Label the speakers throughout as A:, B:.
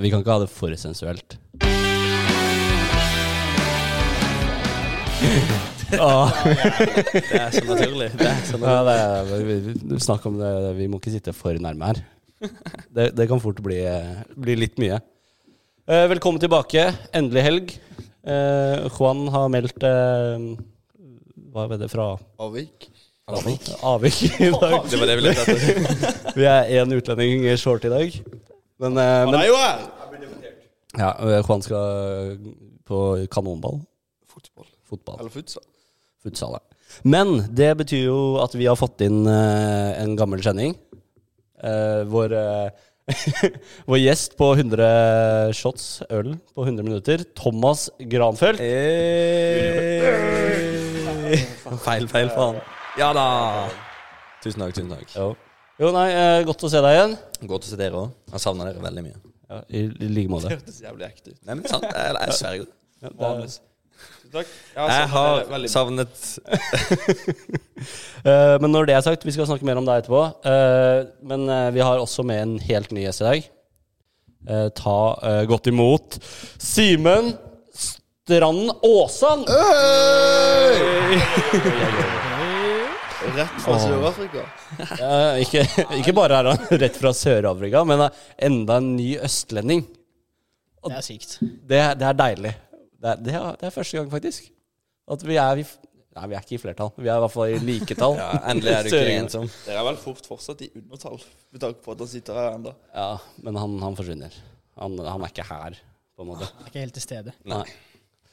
A: Vi kan ikke ha det for sensuelt.
B: Det er så naturlig. Det er så
A: Ah. Ja,
B: naturlig.
A: det er, vi, vi, snakk om det, vi må ikke sitte for nærme her. Det, det kan fort bli, bli litt mye. Eh, velkommen tilbake. Endelig helg. Eh, Juan har meldt eh, Hva er det fra
C: Avvik.
A: Avvik. Avvik i dag.
B: Det var det vi lette etter.
A: Vi er én utlending short i dag. Men, eh, men
C: jo her!
A: ja, eh, Juan skal på kanonball.
C: Fotball.
A: Fotball.
C: Eller futsal.
A: futsal. ja. Men det betyr jo at vi har fått inn eh, en gammel kjenning. Eh, vår, eh, vår gjest på 100 shots øl på 100 minutter, Thomas Granfeldt.
B: Feil, feil, faen. Ja da. Tusen takk, tusen takk.
A: Jo. jo, nei, eh, godt å se deg igjen.
B: Godt å se dere òg. Jeg savner dere veldig mye.
A: Ja, I i like måte.
C: hørtes jævlig ekte ut.
B: Nei, men sant. Jeg, jeg sverger.
A: Vanligvis.
C: Tusen takk.
B: Jeg har savnet
A: Eh, men når det er sagt, vi skal snakke mer om deg etterpå. Eh, men eh, vi har også med en helt ny gjest i dag. Eh, ta eh, godt imot Simen Strand Aasan.
C: Rett fra Sør-Afrika.
A: Eh, ikke, ikke bare er han rett fra Sør-Afrika, men er enda en ny østlending.
D: Det er sykt.
A: Det, er- det er deilig. Det er, det, er, det er første gang, faktisk. At vi er i f- Nei, vi er ikke i flertall. Vi er i hvert fall i liketall.
B: ja, Endelig er du ikke
A: Søringen.
B: ensom.
C: Dere er vel fort fortsatt i undertall, med tanke på at han sitter her ennå.
A: Ja, men han, han forsvinner. Han, han er ikke her, på en måte.
D: Jeg er ikke helt til stede.
A: Nei.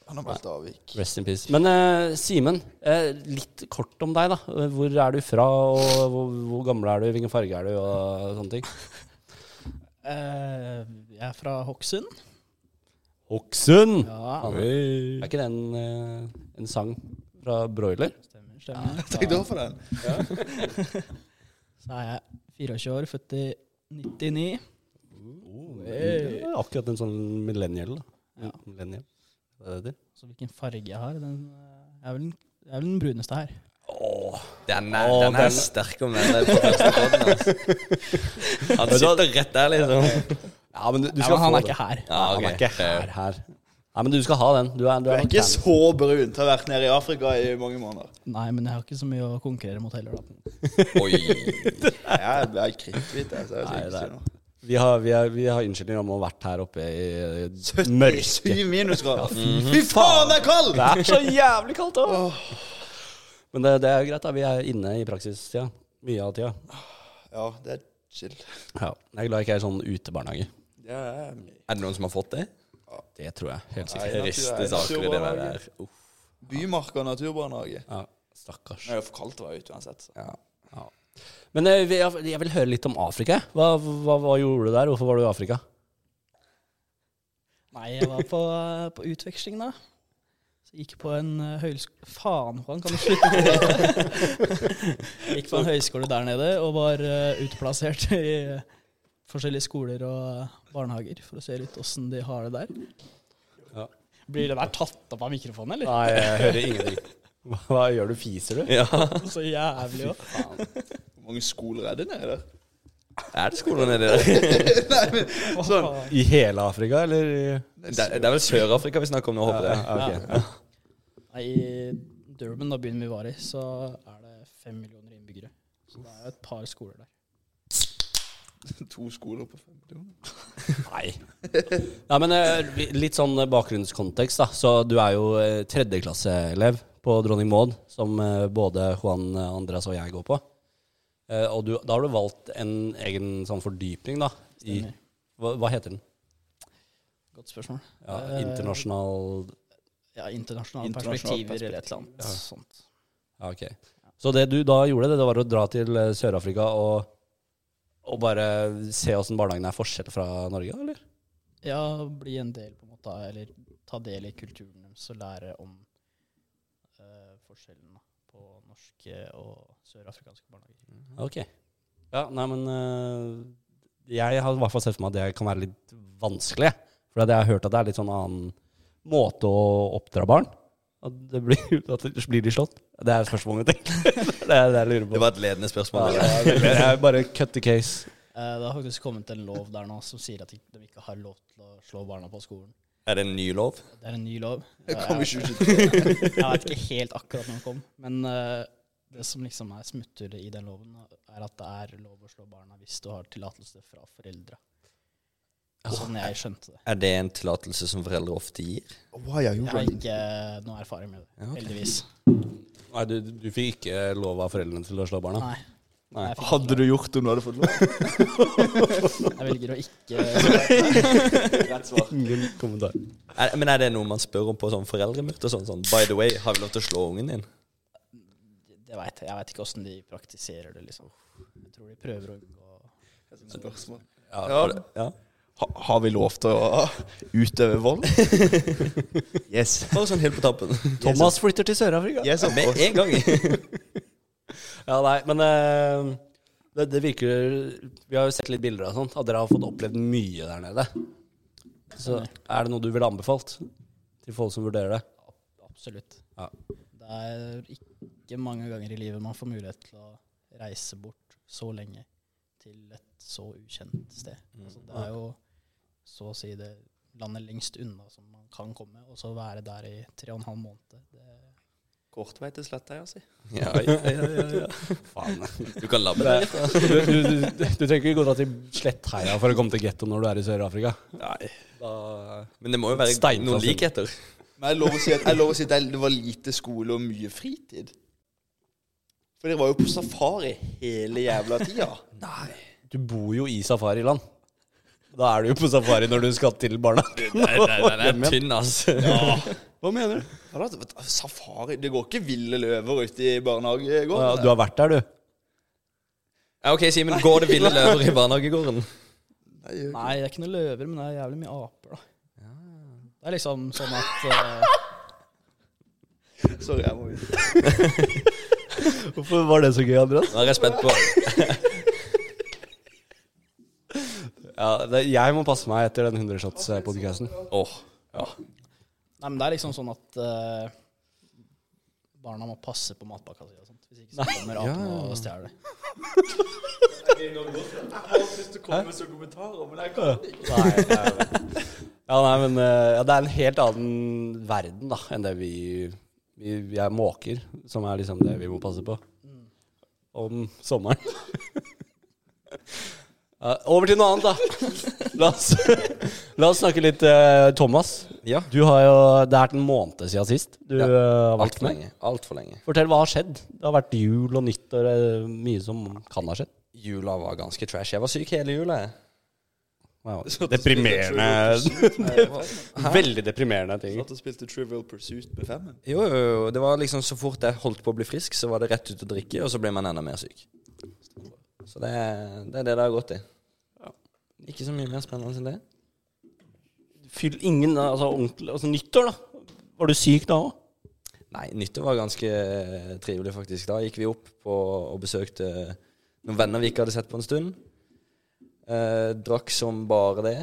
C: Han har meldt avvik.
A: Rest in peace. Men eh, Simen, eh, litt kort om deg, da. Hvor er du fra, og hvor, hvor gammel er du? Hvilken farge er du, og sånne ting?
D: Eh, jeg er fra Hokksund.
A: Hokksund!
D: Ja,
A: Er ikke det en, eh, en sang fra Broiler?
D: stemmer. stemmer.
C: Takk da for den.
D: Så er jeg 24 år, født i 99. Oh,
A: Det er akkurat en sånn millennial. Da. Millennial. Hva er det det heter?
D: Så hvilken farge jeg har den, eh, Jeg er vel den, jeg er vel den bruneste her.
B: Den er, den er sterk om den der på første podden, altså. Han sitter rett der, liksom.
A: Ja, men du, du
D: Ja,
A: skal
D: men han
A: få
D: er ikke her.
B: Ja,
A: Han er ikke her, her. Nei, men du skal ha den. Du er, du
C: Du
A: er
C: er
A: nok
C: ikke
A: den.
C: så brun til å ha vært nede i Afrika i mange måneder.
D: Nei, men jeg har ikke så mye å konkurrere mot heller, da.
B: Eh, Oi.
C: Jeg ble kritthvit, jeg. Så jeg
A: Nei,
C: skal ikke
A: det
C: si
A: er-
C: noe.
A: Vi har, vi har, vi har unnskyldninger om å ha vært her oppe i i mørket.
C: 77 minusgrader. Fy faen, det er kaldt!
A: Det er så jævlig kaldt òg! Men det, det er jo greit, da. Vi er inne i praksistida. Mye av tida.
C: Ja, det er chill.
A: Ja. Jeg er glad jeg ikke er sånn utebarnehage.
C: Ja, ja, ja.
B: Er det noen som har fått det?
A: Det tror jeg. Helt sikkert.
C: Nei, natur-
B: Triste saker i det der.
C: naturbarnehage.
B: Uff.
C: Bymarka naturbarnehage.
A: Ja, stakkars.
C: Det er jo for kaldt å være ute uansett. Så.
A: Ja. Men eh, vi- jeg, jeg vil høre litt om Afrika. jeg. Hva, hva, hva gjorde du der? Hvorfor var du i Afrika?
D: Nei, jeg var på, eh, på utveksling, da. Så gikk jeg på en eh, høyskole Faen, Juan, kan du slutte med det? Jeg gikk på en høyskole der nede og var eh, utplassert i eh, forskjellige skoler og eh, barnehager for å se litt åssen de har det der.
A: Ja.
D: Blir det der tatt opp av mikrofonen, eller?
A: Nei, jeg hører ingenting. Hva, hva gjør du? Fiser du?
B: Ja.
D: Så jævlig òg.
C: Hvor mange skoler er det nede der?
B: Er det skolen nedi der?
C: Sånn.
A: I hele Afrika, eller? i-
B: Det er- det er vel Sør-Afrika vi snakker om nå, håper jeg.
A: Ja, ok.
D: Nei, I Durban, da byen vi var i, så er det fem millioner innbyggere. Så det er jo et par skoler der.
C: To skoler på fem millioner.
A: Nei. Nei, men eh, vi- litt sånn eh, bakgrunnskontekst, da. Så du er jo eh, tredjeklasseelev på Dronning Maud, som eh, både Juan eh, Andreas og jeg går på. Eh, Og du, da har du valgt en egen sånn fordypning, da. I,
D: Stemmer.
A: hva, hva heter den?
D: Godt spørsmål.
A: Ja,
D: Eh,
A: internasjonal
D: Ja, internasjonale
C: Internasjonalt
D: perspektiver eller et eller annet sånt.
A: Ja, ok. Så det du da gjorde, det, det var å dra til eh, Sør-Afrika og, og bare se åssen barnehagen er forskjell fra Norge, eller?
D: Ja, bli en del på en måte, eller ta del i kulturen deres og lære om eh, forskjellen da, på norske og sørafrikanske
C: Mm.
D: barnehager.
A: Ok. Ja, nei, men eh, jeg har i hvert fall sett for meg at det kan være litt vanskelig. For jeg har hørt at det er litt sånn annen måte å oppdra barn. At, det blir, at det blir de slått. Det er spørsmålet mitt. egentlig. det er det jeg lurer
B: Det
A: på.
B: var et ledende spørsmål.
A: Ja, det er bare cut the case.
D: Eh, Det har faktisk kommet en lov der nå som sier at de de ikke har lov til å slå barna på skolen.
B: Er det en ny lov?
D: Det er en ny lov.
C: Jeg
D: Eh,
C: kom i
D: jeg,
C: 2022.
D: jeg vet ikke helt akkurat når den kom, men eh, det som liksom er smutthullet i den loven, er at det er lov å slå barna hvis du har tillatelse fra foreldra.
C: Altså,
D: Sånn jeg skjønte det.
B: Er det en tillatelse som foreldre ofte gir?
C: Why are you
D: Jeg har
C: running?
D: ikke eh, noe erfaring med det, heldigvis.
A: Nei, du, du fikk ikke lov av foreldrene til å slå barna?
D: Nei.
A: Nei.
D: Jeg fikk ikke
C: Hadde du gjort det om du hadde fått lov?
D: lov. Jeg velger å ikke
C: Rett svar.
A: Ingen kommentar.
B: Er, men er det noe man spør om på sånn foreldremøte? Sånn, sånn, by the way, har vi lov til å slå ungen din?
D: Det vet jeg. Jeg vet ikke åssen de praktiserer det, liksom. Jeg tror de prøver å unngå
C: Spørsmål.
A: Ja,
C: Ja.
A: for det- ja.
C: Ha, har vi lov til å utøve vold? yes.
B: Bare sånn helt på tappen.
A: Thomas flytter til Sør-Afrika.
C: Yes, of
B: Med
C: course.
B: en gang.
A: Ja, nei, men eh, det, det virker Vi har jo sett litt bilder og sånt, at dere har fått opplevd mye der nede. Så er det noe du ville anbefalt til folk som vurderer det?
D: Absolutt.
A: Ja.
D: Det er ikke mange ganger i livet man får mulighet til å reise bort så lenge til et så ukjent sted.
A: Mm.
D: Altså, det er jo så å si det landet lengst unna som man kan komme, og så være der i tre og en halv måned. Det,
C: Kort vei til sletta, ja, si.
B: Ja, ja, ja, ja, ja.
A: Faen.
B: Du kan labbe
A: Du,
B: det.
A: altså, du, du, du trenger ikke gå da til Slettheia for å komme til getto når du er i Sør-Afrika.
B: Nei. Men det må jo være
A: Steinflasen.
B: noen likheter.
C: Men jeg lover å si at, jeg lover å si at det var lite skole og mye fritid. For dere var jo på safari hele jævla tida.
A: Nei. Du bor jo i safariland. Da er du jo på safari når du skal til barnehagen.
B: Nei, nei, nei, den er tynn, altså.
A: Hva mener du?
C: Har du hatt- Safari Det går ikke ville løver ute i barnehagegården?
A: Ja, du har vært der, du.
B: Ja, ok, Simen. Går det ville løver i barnehagegården?
C: Nei, jeg-
D: Nei, det er ikke noen løver, men det er jævlig mye aper, da. Det er liksom sånn at eh,
C: Sorry, jeg må ut.
A: Hvorfor var det så gøy, Andreas?
B: Nå er jeg spent på
A: Ja, det, jeg må passe meg etter den 100 shots-podkasten.
B: Åh, ja.
D: Nei, men det er liksom sånn at eh, barna må passe på matpakka si og sånt. Hvis ikke så kommer apene og stjeler det.
C: Jeg syns du kom med sånne kommentarer, men jeg kan ikke.
A: Nei, ja, nei, men eh, ja, det er en helt annen verden da, enn det vi, vi Vi er måker, som er liksom det vi må passe på om sommeren. Ja, over til noe annet, da. La oss, la oss snakke litt eh, Thomas.
B: Ja.
A: Du har jo, Det er en måned siden sist du
B: Ja,
A: eh, har vært
B: Altfor
A: med.
B: lenge. Altfor lenge.
A: Fortell hva har skjedd. Det har vært jul og nyttår, eh, mye som kan ha skjedd.
B: Jula var ganske trash. Jeg var syk hele jula. jeg.
A: Wow. Deprimerende. Veldig deprimerende ting.
C: Satt og spilte Trivial Pursuit med femmen.
B: Jo, jo, jo. Det var liksom så fort jeg holdt på å bli frisk, så var det rett ut å drikke, og så ble man enda mer syk. Så det, er- det er det det har gått i. Ikke så mye mer spennende enn det.
A: Fyll ingen altså, ordentlig, altså nyttår, da. Var du syk da òg?
B: Nei, nyttår var ganske eh, trivelig, faktisk. Da gikk vi opp på, og besøkte noen venner vi ikke hadde sett på en stund. Eh, drakk som bare det.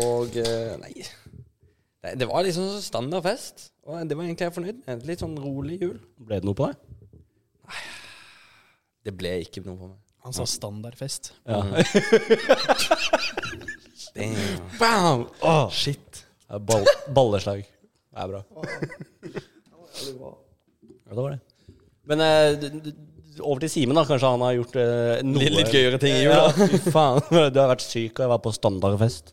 B: Og eh, nei. nei Det var liksom sånn standard fest. Og det var egentlig jeg fornøyd med. Litt sånn rolig jul.
A: Ble det noe på deg?
B: Det ble ikke noe på meg.
D: Han sa standardfest.
A: Mm.
B: Damn.
A: Bam! Shit. Det er Ball, balleslag. Det er bra. Ja, det var det. Men eh, d- d- over til Simen, da. Kanskje han har gjort eh, noe
B: Litt, litt gøyere ting i jula.
A: Ja, fy faen. Du har vært syk, og jeg var på standardfest.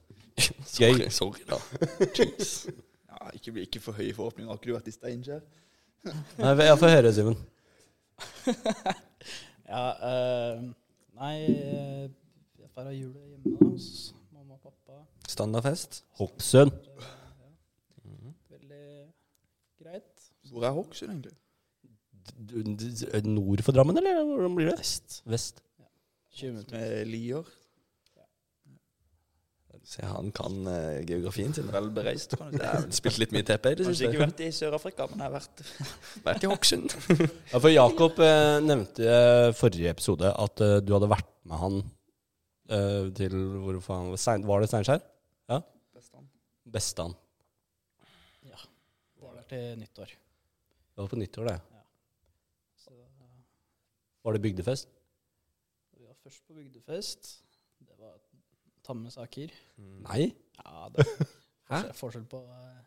B: Sorry, sorry, da.
C: Ja, ikke, bli- ikke for høye forhåpninger. Har ikke du vært i Steinkjer?
A: Nei, jeg får høre, Simen.
D: Ja, eh, nei eh, Jeg feirer jul hjemme da, hos mamma og pappa.
B: Standardfest.
A: Hokksund.
D: Veldig greit.
C: Hvor er Hokksund, egentlig?
A: D- d- Nord for Drammen, eller hvordan blir det? Vest. Vest.
D: 20 minutter.
C: Med Lier.
B: Se, han kan eh, geografien sin.
C: Vel bereist, kan du si.
B: Jeg har vel spilt litt mye TP i det
C: Kanskje ikke
B: siste.
C: vært i Sør-Afrika, men jeg har vært
B: Vært i Hokksund.
A: Ja, for Jakob eh, nevnte eh, forrige episode at eh, du hadde vært med han eh, til hvor faen Stein, Var det Steinkjer? Bestan.
D: Var der til nyttår.
A: Det var på nyttår, det.
D: Så eh,
A: Var det bygdefest?
D: vi var først på bygdefest. tamme saker.
A: Nei?
D: Ja, det er
A: Hæ?
D: forskjell- forskjell på eh,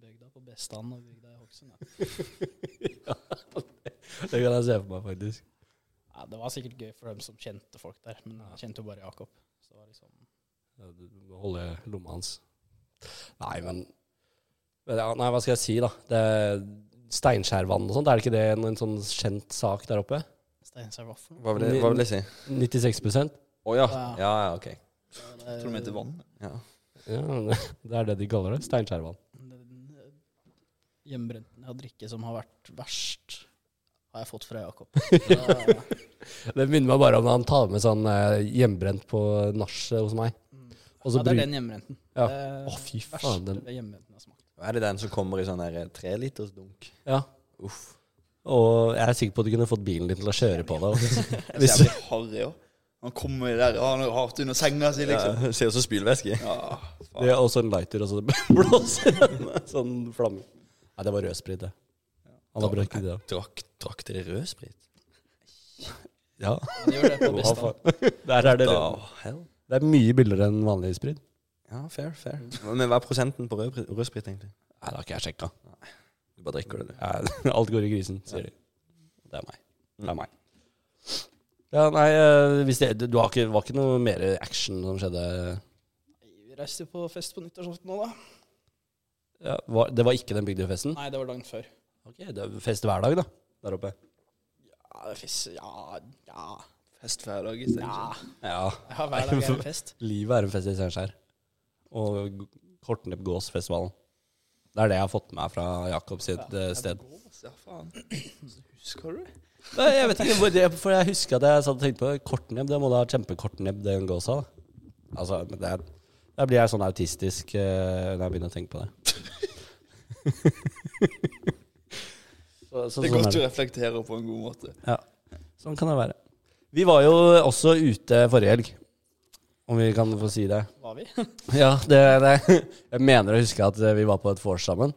D: bygda på Bestand og bygda i Hokksund. Ja.
A: Det kan jeg se for meg, faktisk.
D: Ja, det var sikkert gøy for dem som kjente folk der, men jeg kjente jo bare Jakob. Så det var liksom
A: Ja, Du du må holde lomma hans. Nei, men men ja, Nei, hva skal jeg si, da? Det er Steinskjærvann og sånt, er det ikke det en, en sånn kjent sak der oppe?
D: Steinsar Vaffel.
B: Hva vil det, hva vil det si?
A: 96
B: Å ja.
D: Ja.
B: Ja, ja, ok.
C: Jeg tror de heter Vann.
B: Ja.
A: Ja, Det er det de kaller det. Steinskjærvann.
D: Den eh, hjemmebrenten av drikke som har vært verst, har jeg fått fra Jakob. Da-
A: Det minner meg bare om da han tar med sånn eh, hjemmebrent på nachet hos meg.
D: Mm.
A: Og så
D: ja, det er
A: bruker
D: den hjemmebrenten.
A: Ja.
D: Det er
A: Å, fy
D: verste
A: faen, den-
D: hjemmebrenten jeg har smakt.
B: Er det den som kommer i sånn der treliters dunk?
A: Ja.
B: Uff.
A: Og jeg er sikker på at du kunne fått bilen din til å kjøre på deg. også.
C: Jeg ser jævlig harry òg. Han kommer der, han har hardt under senga si, liksom.
B: Ja, ser ut som spylvæske.
C: Ja,
A: Det er også en lighter, og så blåser den med sånn flamme. Nei, det var rødsprit, det. Han har brukt det.
B: Drakk, drakk dere rød sprit?
A: Ja.
D: Men det gjør det på Bestand.
A: Der er det
B: Da,
A: rød.
B: hell.
A: Det er mye billigere enn vanlig sprit.
B: Ja, fair, fair. Men hva er prosenten på rød, rød sprit, egentlig?
A: Nei, det har ikke jeg sjekka.
B: Du bare drikker det, du.
A: Nei, Alt går i grisen, sier de. Det er meg. Det er meg. Ja, nei, eh, hvis det, du har ikke, var ikke noe mer action som skjedde
D: Vi reiste jo på fest på nyttårsaften nå, da.
A: ja, var, Det var ikke den bygdefesten?
D: Nei, det var dagen før.
A: Ok, det er fest hver dag, da. Der oppe.
D: Ja, det er fiss, ja, ja,
C: Fest hver dag i stedet.
D: ja.
A: Ja.
D: ja hver dag er det fest.
A: Livet er en fest i Steinkjer. Og Kortnepp Gåsfestivalen. Det er det jeg har fått med meg fra Jakob sitt eh, sted.
C: Ja, faen. Så Husker du det?
A: Nei, jeg vet ikke, hvor det- for jeg husker at jeg satt og tenkte på Kortnebb. Det må da ha kjempekortnebb, den gåsa. da. Altså, men det er, da blir jeg sånn autistisk eh, når jeg begynner å tenke på det. så, så,
C: Det er
A: sånn, er
C: godt du
A: det.
C: reflekterer på en god måte.
A: sånn kan det være. Vi var jo også ute forrige helg, om vi kan få si det.
D: Var vi?
A: Ja, det, det. Jeg mener å huske at vi var på et vors sammen.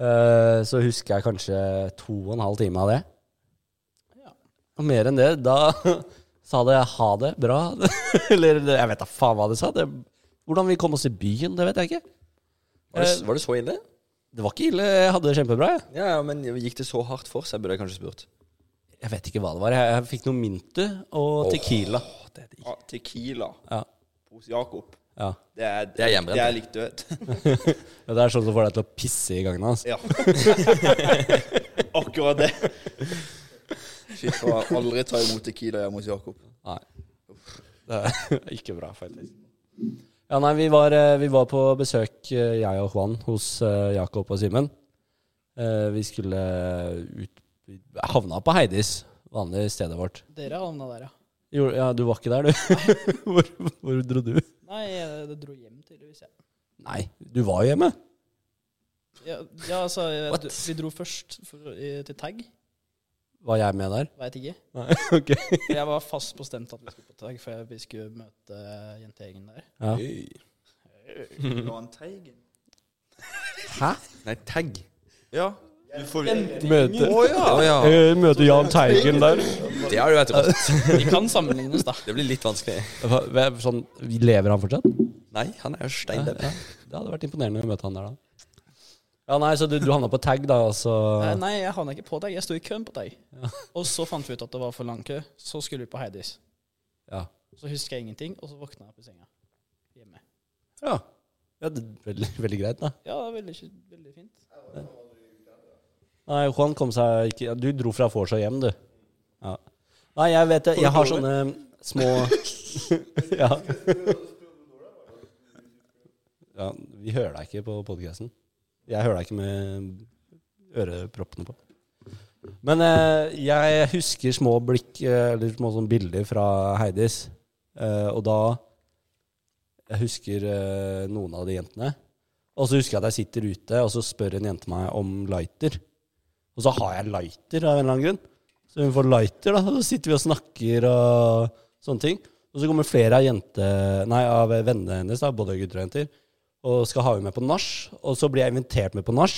A: Eh, så husker jeg kanskje to og en halv time av det.
D: Ja.
A: Og mer enn det, da sa det 'ha det bra'. Eller det- jeg vet da faen hva det sa. Det, hvordan vi kom oss til byen, det vet jeg ikke.
B: Var det, var det så ille?
A: Det var ikke ille. Jeg hadde det kjempebra. Jeg,
B: Ja, ja, men gikk det så hardt for seg, burde jeg kanskje spurt.
A: jeg vet ikke hva det var. Jeg, jeg fikk noe mintu og tequila.
B: Åh, det er digg.
C: Ja, tequila
A: Ja,
C: hos Jakob.
A: ja.
C: Det er,
B: Det er hjemmebrent.
C: Det er lik død.
A: Ja, Det er sånn som får deg til å pisse i gangen hans.
C: Ja. Akkurat det. Fy faen, aldri ta imot Tequila hjemme hos Jakob.
A: Nei. Det er ikke bra, faktisk. Ja, nei, vi var, eh, vi var på besøk, eh, jeg og Juan, hos eh, Jakob og Simen. Eh, Vi skulle ut vi Havna på Heidis, vanlig stedet vårt.
D: Dere havna der, ja.
A: Jo, ja, du var ikke der, du. Hvor, hvor dro du?
D: Nei, jeg- det dro hjem tydeligvis, jeg.
A: Nei, du var jo hjemme.
D: Ja, ja altså, jeg,
A: What?
D: du, vi dro først for, i, til tag.
A: Var jeg med der?
D: Veit ikke.
A: Nei, ok.
D: For jeg var fast bestemt at vi skulle på tag, for jeg- vi skulle møte eh, jentegjengen der.
A: Ja.
C: Jan Teigen.
A: Hæ?
B: Nei, tagg.
C: Ja. Du får
A: Møte,
C: Å ja.
B: Å ja.
A: eh, møte Jahn Teigen der.
B: Det har jo vært rått.
D: De kan sammenlignes, da.
B: Det blir litt vanskelig.
A: Hva- hva- Sånn, lever han fortsatt?
B: Nei, han er jo steindød.
A: Det hadde vært imponerende å møte han der, da. Ja, nei, så du, du havna på tag, da, og så
D: Eh, Nei, jeg havna ikke på tag. Jeg sto i køen på tag. Og så fant vi ut at det var for lang kø. Så skulle vi på Heidis.
A: Ja.
D: Så husker jeg ingenting, og så våkna jeg opp i senga. Hjemme.
A: Ja, ja det, er veldig, veldig greit, da.
D: Ja, det var veldig, veldig fint.
A: Nei, Juan kom seg ikke ja, Du dro fra vors og hjem, du. Ja. Nei, jeg vet det. Jeg har sånne små Ja. ja. Vi hører deg ikke på podkasten. Jeg hører deg ikke med øreproppene på. Men eh, jeg husker små blikk, eh, eller små sånne bilder fra Heidis. Eh, og da Jeg husker eh, noen av de jentene. Og så husker jeg at jeg sitter ute, og så spør en jente meg om lighter. Og så har jeg lighter av en eller annen grunn. Så hun får lighter, da. Og så sitter vi og snakker og sånne ting. Og så kommer flere av, jente, nei, av vennene hennes, da, både gutter og jenter, og skal ha henne med på nach. Og så blir jeg invitert med på nach.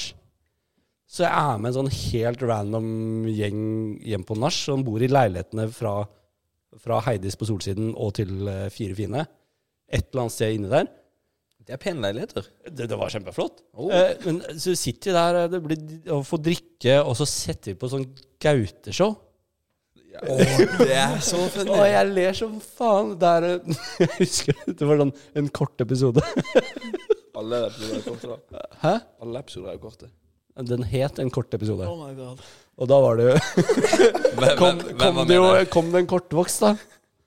A: Så jeg er med en sånn helt random gjeng hjem på nach, som bor i leilighetene fra, fra Heidis på Solsiden og til eh, Fire fine. et eller annet sted inni der.
B: Det er pene leiligheter.
A: Det, det var kjempeflott.
B: Oh.
A: Eh, men så sitter vi der eh, det blir, og får drikke, og så setter vi på sånn Gaute-show.
B: det er så funny.
A: Og jeg ler som faen. Det er, eh, jeg husker det var sånn en kort episode.
C: Alle episoder er korte, da.
A: Hæ?
C: Alle episoder er jo korte.
A: Den het en kort episode.
D: Oh my god.
A: Og da var det jo
B: Hvem,
A: Kom,
B: hvem- hvem
A: kom,
B: var
A: det, jo,
B: med der?
A: kom det en kortvokst, da.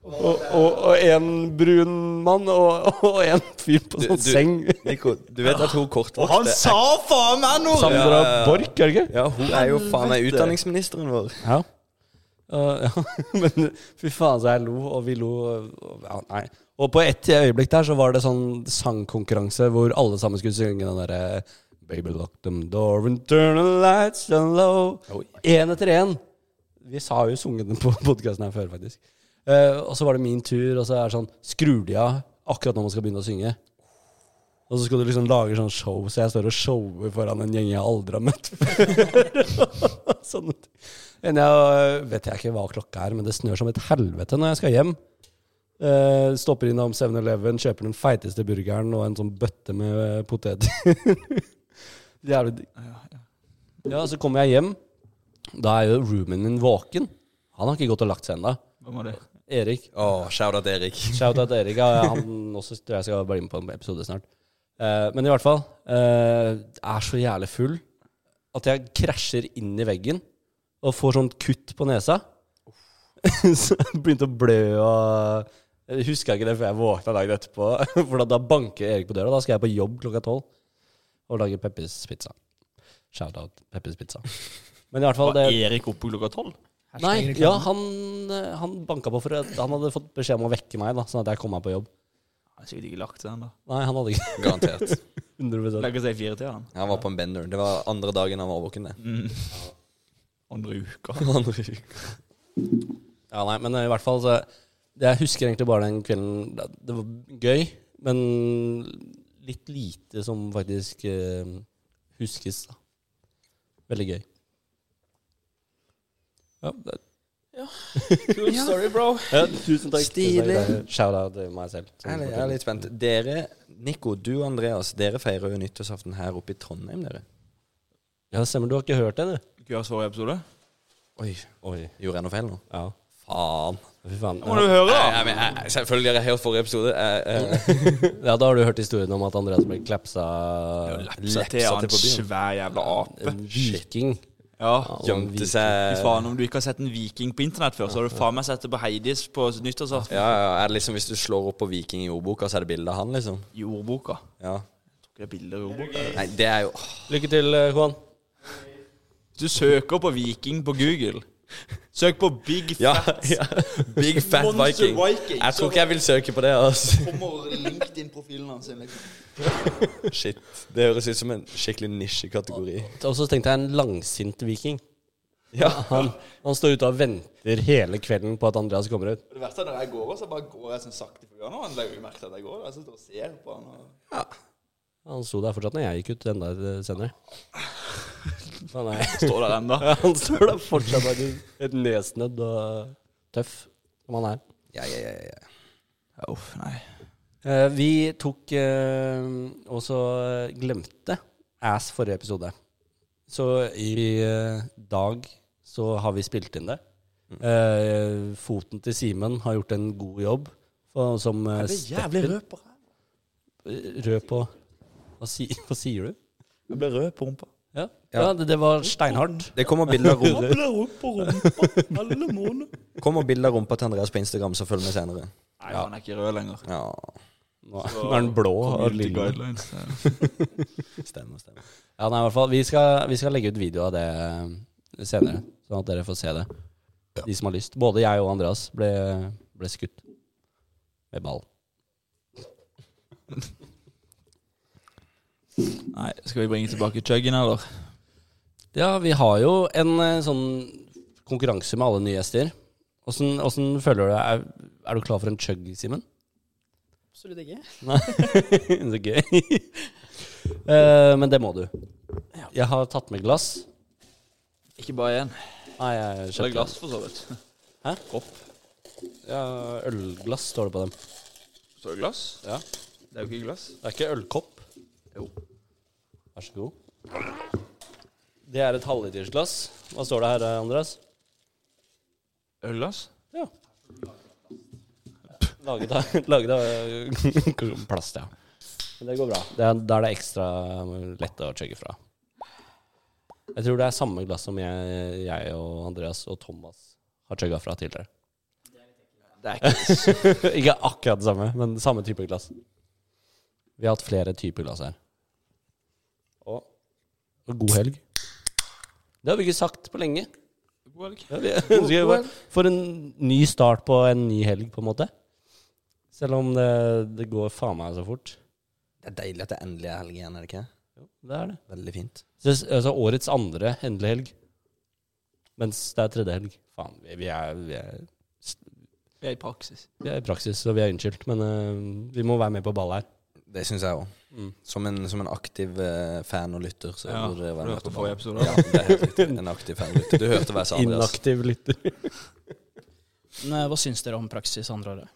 A: Og, og, og en brun mann, og, og en fyr på
B: Du-
A: sånn
B: du-
A: seng.
B: Nico, du vet at hun
C: Og han
B: kortvokste
C: sa faen meg noe!
A: Sandra Borch, er det ikke?
B: Ja, hun er jo faen meg utdanningsministeren vår.
A: Ja. Uh, ja. Men fy faen, så jeg lo, og vi lo. og- Ja, nei. Og på et øyeblikk der så var det sånn sangkonkurranse hvor alle sammen skulle synge den derre Baby lock them door and turn the lights down low. Én etter én. Vi sa jo sunget den på podkasten her før, faktisk. Eh, og så var det min tur, og så er det sånn Skrur de av akkurat når man skal begynne å synge? Og så skal du liksom lage sånn show, så jeg står og shower foran en gjeng jeg aldri har møtt før. sånn. Men jeg øh, vet jeg ikke hva klokka er, men det snør som et helvete når jeg skal hjem. Eh, stopper innom 7-Eleven, kjøper den feiteste burgeren og en sånn bøtte med poteter. Jævlig digg. Ja, så kommer jeg hjem. Da er jo roomien min våken. Han har ikke gått og lagt seg ennå.
E: Hvem var det?
A: Erik.
B: Å, shout-out Erik.
A: Shout out Erik. ja, Han også tror jeg skal bli med på en episode snart. Eh, men i hvert fall eh, er så jævlig full at jeg krasjer inn i veggen og får sånt kutt på nesa. så jeg begynte å blø og Jeg huska ikke det før jeg våkna dagen etterpå. For da, da banker Erik på døra. Da skal jeg på jobb klokka tolv og lage Peppers pizza. Shout out Peppers pizza. Men i hvert fall
E: Var
A: det
E: Erik oppe klokka tolv?
A: Nei, ja, han, eh, han banka på for at han hadde fått beskjed om å vekke meg, da, sånn at jeg kom meg på jobb.
E: Han har sikkert ikke lagt seg ennå.
A: Nei, han hadde ikke
B: Garantert.
A: 100
E: Legger seg i firetida, han.
B: Han var på en bender. Det var andre dagen han var våken, det.
E: Mm. Andre uka.
B: Andre uke.
A: Ja, nei, men eh, i hvert fall så Jeg husker egentlig bare den kvelden da- Det var gøy, men litt lite som faktisk eh, huskes, da. Veldig gøy. Ja, det,
C: Cool story, bro.
A: ja, tusen takk.
B: Stilig.
A: Shout-out til meg selv. som
B: Jeg er litt- jeg er
A: forteller.
B: litt spent. Dere, Nico, du og Andreas, dere feirer jo nyttårsaften her oppe i Trondheim, dere.
A: Ja, det stemmer. Du har ikke hørt det, du?
E: Gjørs forrige episode?
B: Oi,
A: Oi.
B: gjorde jeg noe feil nå?
A: Ja.
B: Faen.
A: Fy faen.
E: Må du høre, da!
B: Nei, men jeg- selvfølgelig har jeg hørt forrige episode. Jeg, jeg,
A: Ja, da har du hørt historien om at Andreas ble klapsa
E: Lepsa til han svær jævla ape.
A: En viking.
E: Ja.
B: gjemte
E: Fy
B: seg
E: faen, om du ikke har sett en viking på internett før, så har du faen meg sett det på Heidis på nyttårsaften.
B: ja, ja, er det liksom Hvis du slår opp på Viking i ordboka, så er det bilde av han, liksom?
E: I ordboka.
B: Ja.
E: Tror ikke det er bilder i ordboka.
B: Nei, det er jo
A: Lykke til, eh, Juan.
E: Hvis du søker på viking på Google, søk på Big Fat.
B: Ja, ja. Big Fat
C: Monster
B: Viking.
C: Viking.
B: Jeg tror ikke jeg vil søke på det. Altså.
C: Kommer LinkedIn-profilen hans inn, liksom.
B: Shit. Det høres ut som en skikkelig nisjekategori.
A: Og så tenkte jeg en langsint viking.
B: Ja.
A: Han, han står ute og venter hele kvelden på at Andreas kommer ut.
C: Og Det verste er når jeg går, så bare går jeg sånn sakte forbi han, og han legger jo merke til at jeg går. og Jeg sitter og ser på han. og...
A: Han sto der fortsatt når jeg gikk ut, enda eh, senere. Han, er,
E: Står der ennå.
A: han står der fortsatt faktisk et nesnødd og tøff som han er.
B: Ja, ja, ja, ja.
E: Uff, nei.
A: Eh, Vi tok eh, og så glemte Ass forrige episode. Så i eh, dag så har vi spilt inn det. Eh, foten til Simen har gjort en god jobb. For, som eh, stepper.
C: rød på her.
A: Rød på hva, si, hva sier du?
E: Jeg ble rød på rumpa.
A: Ja, ja det, det var steinhardt.
B: Det kommer bilder av rumpa,
E: ble rød på rumpa alle måneder.
B: kommer bilder av rumpa til Andreas på Instagram, så følg med senere.
E: Nei, han er ikke rød lenger.
B: Ja,
A: Nå er nå er den blå og
E: Community
A: lilla.
E: guidelines. ja.
B: stemmer, stemmer.
A: Ja, nei, i hvert fall. Vi skal, vi skal legge ut video av det eh, senere, sånn at dere får se det. De som har lyst. Både jeg og Andreas ble, ble skutt med ball.
E: Nei, skal vi bringe tilbake chuggen, eller?
A: Ja, vi har jo en eh, sånn konkurranse med alle nye gjester. Åssen åssen føler du deg? Er, er du klar for en chug, Simen?
D: Absolutt ikke.
A: Nei, så gøy. Eh, men det må du. Jeg har tatt med glass.
E: Ikke bare én.
A: Nei, jeg
E: Eller
A: kjøpte
E: glass, for så vidt.
A: Hæ?
E: Kopp.
A: Ja, ølglass står det på dem.
E: Står det glass?
A: Ja.
E: Det er jo ikke glass.
A: Det er ikke ølkopp? Jo. Vær så god. Det er et halvlitersglass. Hva står det her, Andreas?
E: Ølglass?
A: Ja. Laget av, laget av plast, ja. Men det går bra. Det er, da er det ekstra eh, lett å chugge fra. Jeg tror det er samme glass som jeg, jeg og Andreas og Thomas har chugga fra tidligere.
E: Det er ikke
A: Ikke akkurat det samme, men samme type glass. Vi har hatt flere typer glass her. Og, og god helg. Det har vi ikke sagt på lenge.
E: god helg.
A: Ja, vi ønsker jo bare for en ny start på en ny helg, på en måte. Selv om det, det går faen meg så fort.
B: Det er deilig at det endelig er helg igjen, er det ikke?
A: Det er det.
B: Veldig fint.
A: Så, altså årets andre endelig helg. Mens det er tredje helg. Faen, vi, vi, er, vi, er,
E: Vi er i praksis.
A: vi er i praksis, så vi er unnskyldt. Men øh, vi må være med på ballet her.
B: Det syns jeg òg.
A: Mm.
B: Som, en- som en aktiv eh, fan og lytter, så
E: Ja,
B: burde det
E: for
B: være
E: du
B: med
E: hørte
B: på
E: forrige episode,
B: ballen. Ja, det er helt riktig. En aktiv fan og lytter. Du hørte hva jeg sa, Andreas.
A: Inaktiv lytter.
D: Men, eh, hva syns dere om praksis andre året?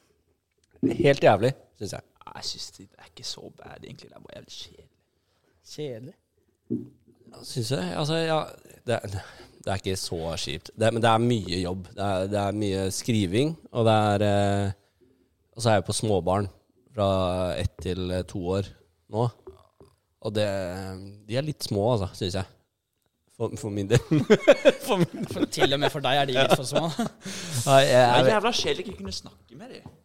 A: Helt jævlig, syns jeg.
E: Nei, Jeg syns det er ikke så bad, egentlig. Det er bare jævlig kjedelig.
D: Kjedelig.
A: Syns jeg. Altså, ja det, er- det er ikke så kjipt. Det, er- men det er mye jobb. Det er, det er mye skriving, og det er eh, Og så er jeg på småbarn fra ett til eh, to år nå. Og det De er litt små, altså, syns jeg. For, for min del.
D: For, til og med for deg er de litt for små.
A: Ja,
E: Det
A: jeg,
E: er
A: jeg,
E: jævla kjedelig ikke kunne snakke med dem.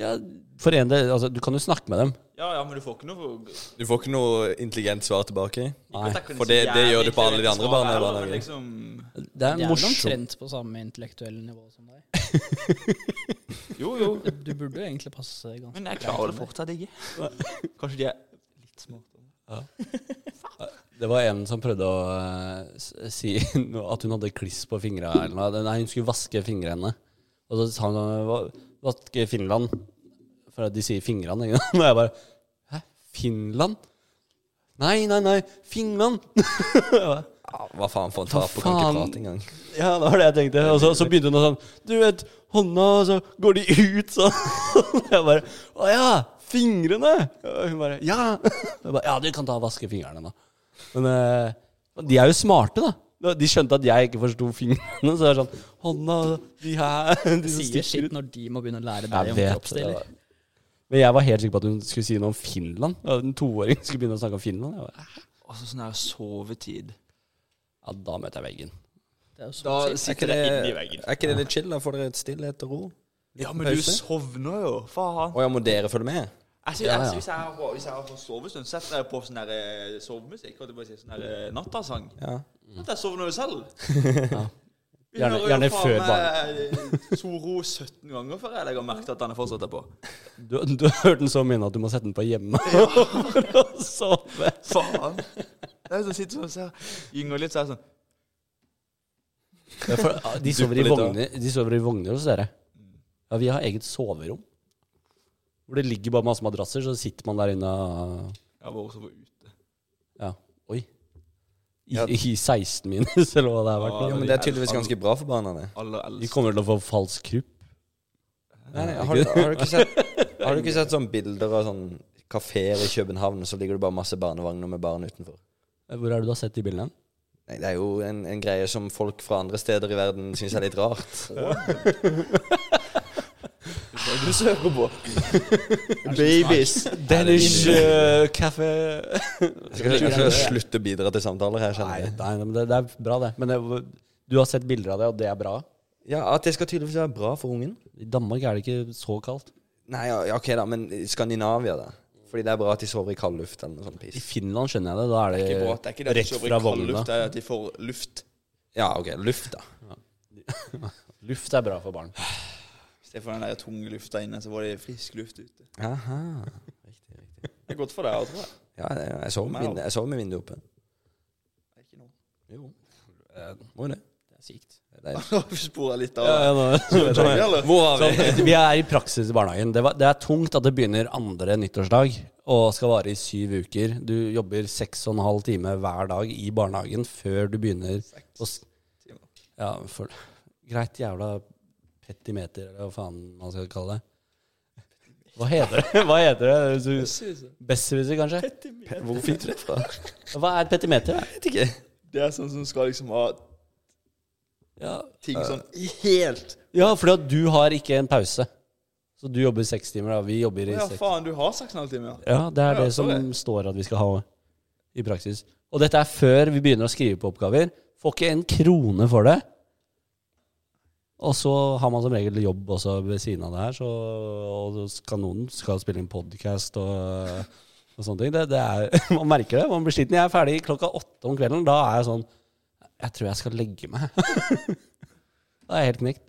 A: ja, for en del altså, Du kan jo snakke med dem.
E: Ja, ja, men du får ikke noe Ikke
B: Du får ikke noe intelligent svar tilbake.
A: Nei.
E: at jeg kunne
B: for
E: så
B: det- det
E: jævlig
B: gjør du på alle de
E: intelligente
B: andre
E: svar
B: barne-
E: heller,
B: barnehager.
E: men Liksom,
A: Det er
D: De er vel
A: morsomt.
D: omtrent på samme intellektuelle nivå som deg.
E: jo, jo.
D: Du burde jo egentlig passe ganske
E: Men jeg klarer det fortsatt ikke. Kanskje de er litt smartere.
A: Det var en som prøvde å eh, s- si noe- at hun hadde kliss på fingra. eller noe. Nei, hun skulle vaske fingrene. Og så sa hun "Hva- vaske Finland. For de sier fingrene. ikke sant? Og jeg bare Hæ? Finland? Nei, nei, nei. Finland!
B: Ja, hva faen for en
A: Hva
B: taper, kan ikke
A: faen?
B: prate engang.
A: Ja, det var det jeg tenkte. Og så, så begynte hun å sånn Du vet, hånda, og så går de ut sånn. Og jeg bare Å ja! Fingrene! Og hun bare Ja! Jeg bare, ja, du kan ta og vaske fingrene, da. Men eh, de er jo smarte, da. Da- De skjønte at jeg ikke forsto fingrene, så det er sånn Hånda, de her De som
D: Sier
A: stikker
D: shit
A: ut.
D: når de må begynne å lære deg
A: Jeg
D: om
A: vet det.
D: kroppsdeler.
A: Men jeg var helt sikker på at hun skulle si noe om Finland. At en toåring skulle begynne å snakke om Finland. Jeg bare,
E: Altså sånn her sovetid.
A: ja, da møter jeg veggen.
D: Det er jo så
B: Da
D: sykt.
B: er ikke det, er ikke det litt chill? Da får dere litt stillhet og ro?
E: Ja, men du
B: pause.
E: sovner jo. Faen.
B: Å ja, må dere følge med?
E: Jeg synes,
A: Ja, ja.
E: Jeg, altså, hvis jeg har på- hvis jeg har på sovestund, setter jeg på sånn der eh, sovemusikk. Og det bare sier sånn der eh, nattasang.
B: Ja.
E: At jeg sovner jo selv. Vi
A: Gjerne-
E: hører jo
A: gjerne
E: faen
A: før
E: meg, eh, Toro 17 ganger før jeg legger merke til at han er fortsatt er på.
A: Du, du har hørt den så mye nå at du må sette den på hjemme for å sove.
E: Faen. Det er jo sånn sitter sånn og ser, gynger litt, så er jeg sånn
A: Ja, for, ah, de, sover i
B: litt, da.
A: vogner, de sover i vogner hos dere. Ja, vi har eget soverom. Hvor det ligger bare masse madrasser, så sitter man der inne og
E: Jeg var også ute.
A: Ja, oi. I,
B: Ja.
A: i 16 minus, eller hva det har vært.
E: Ja,
B: Ja, men det er tydeligvis ganske bra for barna, det.
E: Aller
A: De
E: eldst.
A: kommer til å få falsk krupp.
B: Nei, nei, har, du, har, du ikke sett, har du ikke sett sånn bilder av sånn kafeer i København, så ligger det bare masse barnevogner med barn utenfor?
A: Hvor er det du har sett de bildene?
B: Nei, det er jo en, en greie som folk fra andre steder i verden syns er litt rart.
E: Hva er det du søker på?
B: sånn
C: Babies.
A: Danish
B: eh,
A: Café
B: Jeg skal, jeg skal slutte å bidra til samtaler her,
A: Nei,
B: kjenner jeg.
A: nei, men det, det er bra, det. Men det, du har sett bilder av det, og det er bra?
B: Ja, At det skal tydeligvis være bra for ungen?
A: I Danmark er det ikke så kaldt.
B: Nei, ja, ja, ok da, men i Skandinavia, da? Fordi det er bra at de sover i kald luft eller noe sånt
A: I
B: piss.
A: Finland skjønner jeg det. Da er det,
C: Det er ikke bra at det er ikke det at de
A: rett
C: sover i
A: fra
C: kald
A: vogna.
C: luft, det er at de får luft.
B: Ja, ok, luft, da.
A: Luft er bra for barn.
C: I stedet for den der tunge lufta inne, så var det frisk luft ute.
B: Aha.
C: Det er godt for deg, altså. jeg tror jeg.
B: Ja, det- jeg sover med, vindu- jeg sover med vinduet oppe.
C: Det er ikke noe.
B: Jo. Må jo det.
D: Det er sykt.
B: Det er deilig.
C: Nå har vi sporet litt av
A: Ja, ja, nå-
C: Sånn, eller?
B: Hvor var vi?
A: eh, Vi er i praksis i barnehagen. Det, var, det er tungt at det begynner andre nyttårsdag og skal vare i syv uker. Du jobber seks og en halv time hver dag i barnehagen før du begynner å s-
C: timer.
A: Ja, for, greit jævla petimeter, eller hva faen man skal kalle det. Hva heter det? Hva heter det? Du- Besserwisser, kanskje?
B: Hvor fikk du det fra?
A: Hva er petimeter? da?
B: Vet ikke.
C: Det er sånn som skal liksom ha
A: Ja,
C: ting sånn helt
A: ja fordi at du har ikke en pause. Så du jobber seks timer, da. Vi jobber i
E: Ja,
A: seks.
E: faen, du har sagt en halvtime, ja.
A: Ja, det er
E: Ja,
A: det som
E: sorry.
A: står at vi skal ha i praksis. Og dette er før vi begynner å skrive på oppgaver. Får ikke en krone for det. Og så har man som regel jobb også ved siden av det her, så, og så skal noen skal spille inn podkast og, og sånne ting. Det, det er, man merker det. Man blir sliten. Jeg er ferdig klokka åtte om kvelden. Da er jeg sånn Jeg tror jeg skal legge meg. da er jeg helt knekt.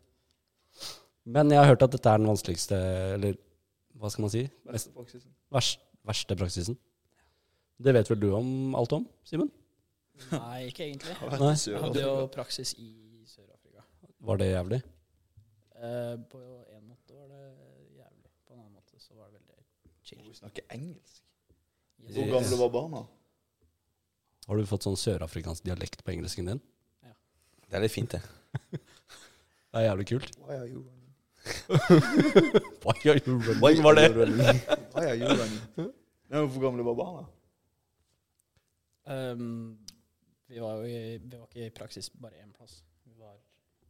A: Men jeg har hørt at dette er den vanskeligste, eller hva skal man si? Mest Vers, verste praksisen. Det vet vel du om alt om, Simen?
D: Nei, ikke egentlig.
A: Nei.
D: Jeg hadde jo praksis i Sør-Afrika.
A: Var det jævlig?
D: Eh, på en måte var det jævlig. På en annen måte så var det veldig chill.
C: Snakke engelsk.
D: Yes.
C: Hvor gamle var barna?
A: Har du fått sånn sørafrikansk dialekt på engelsken din?
B: Det er litt fint, det.
A: Det er jævlig kult.
C: Why are you running?
A: Why are you running, var det?
C: Why are you running? Nei, hvor gamle var barna?
D: Ehm, vi var jo i, vi var ikke i praksis bare én plass. Vi var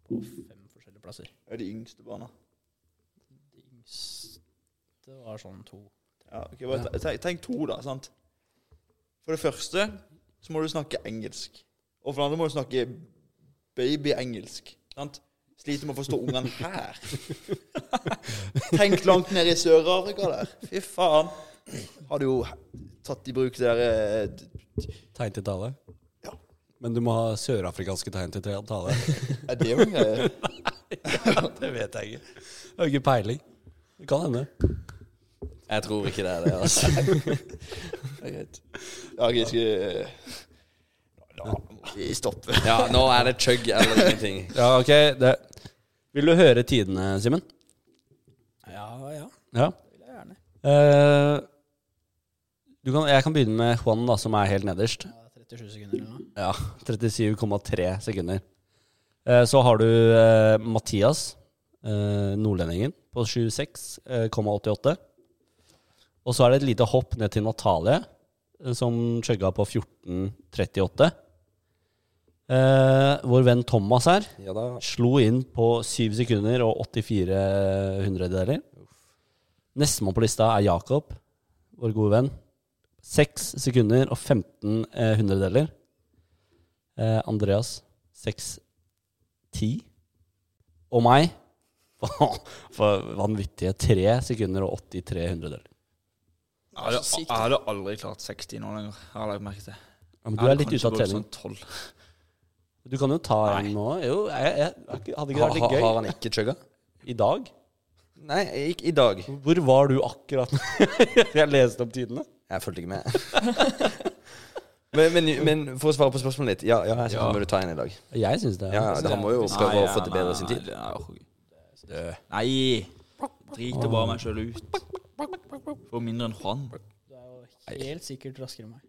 D: på fem forskjellige plasser.
C: Er de yngste barna?
D: De yngste var sånn to.
C: Ja, ok, bare te- te- Tenk to, da. sant? For det første så må du snakke engelsk. Og for det andre må du snakke babyengelsk. sant? Sliter med å forstå ungene her. Tenk langt ned i Sør-Afrika der. Fy faen. Har du jo tatt i bruk det der eh,
A: Tegn til tale?
C: Ja.
A: Men du må ha sørafrikanske tegn til tale.
C: Er det jo en greie?
A: det vet jeg ikke. Jeg har ikke peiling. Det kan hende.
B: Jeg tror ikke det er det, altså.
C: Det er greit. Ja, ok, skal jeg- Da må vi stoppe.
B: Ja, nå er det chug eller ingenting.
A: Ja, ok. Det. Vil du høre tidene, Simen?
D: Ja, ja.
A: Ja.
D: Det vil jeg gjerne.
A: Eh, du kan, jeg kan begynne med Juan, da, som er helt nederst.
D: Ja, 37 sekunder eller noe.
A: Ja, 37,3 sekunder. Eh, Så har du eh, Mathias, eh, nordlendingen, på 26,88. Og så er det et lite hopp ned til Natalie, eh, som chugga på 14,38. Eh, vår venn Thomas her
B: Ja da.
A: slo inn på 7 sekunder og 84 hundredeler. Nestemann på lista er Jakob, vår gode venn. 6 sekunder og 15 eh, hundredeler. Eh, Andreas 6.10. Og meg for, for vanvittige 3 sekunder og 83 hundredeler.
E: Jeg hadde, jeg hadde aldri klart 60 nå lenger. Jeg har lagt merke til.
A: Ja, men
E: Jeg
A: du er
E: hadde
A: litt
E: kanskje
A: ute av
E: gått Sånn
A: trening.
E: 12.
A: Du kan jo ta en nå. Jo, jeg, jeg, jeg, hadde ikke det vært
B: Ha, ha,
A: litt
B: har
A: gøy
B: han ikke chugga?
A: i dag?
B: Nei, ikke i dag.
A: Hvor var du akkurat jeg leste opp tidene?
B: Jeg fulgte ikke med. Men, men, men for å svare på spørsmålet ditt Ja, ja jeg synes
E: Ja.
B: må du ta en i dag.
A: Jeg syns det.
B: Ja, det, Han må jo prøve
E: Nei,
B: å få til bedre sin tid.
E: Nei, nei, jeg orker ikke. nei. driter bare meg sjøl ut. For mindre enn Juan.
D: Du er jo helt sikkert raskere enn meg.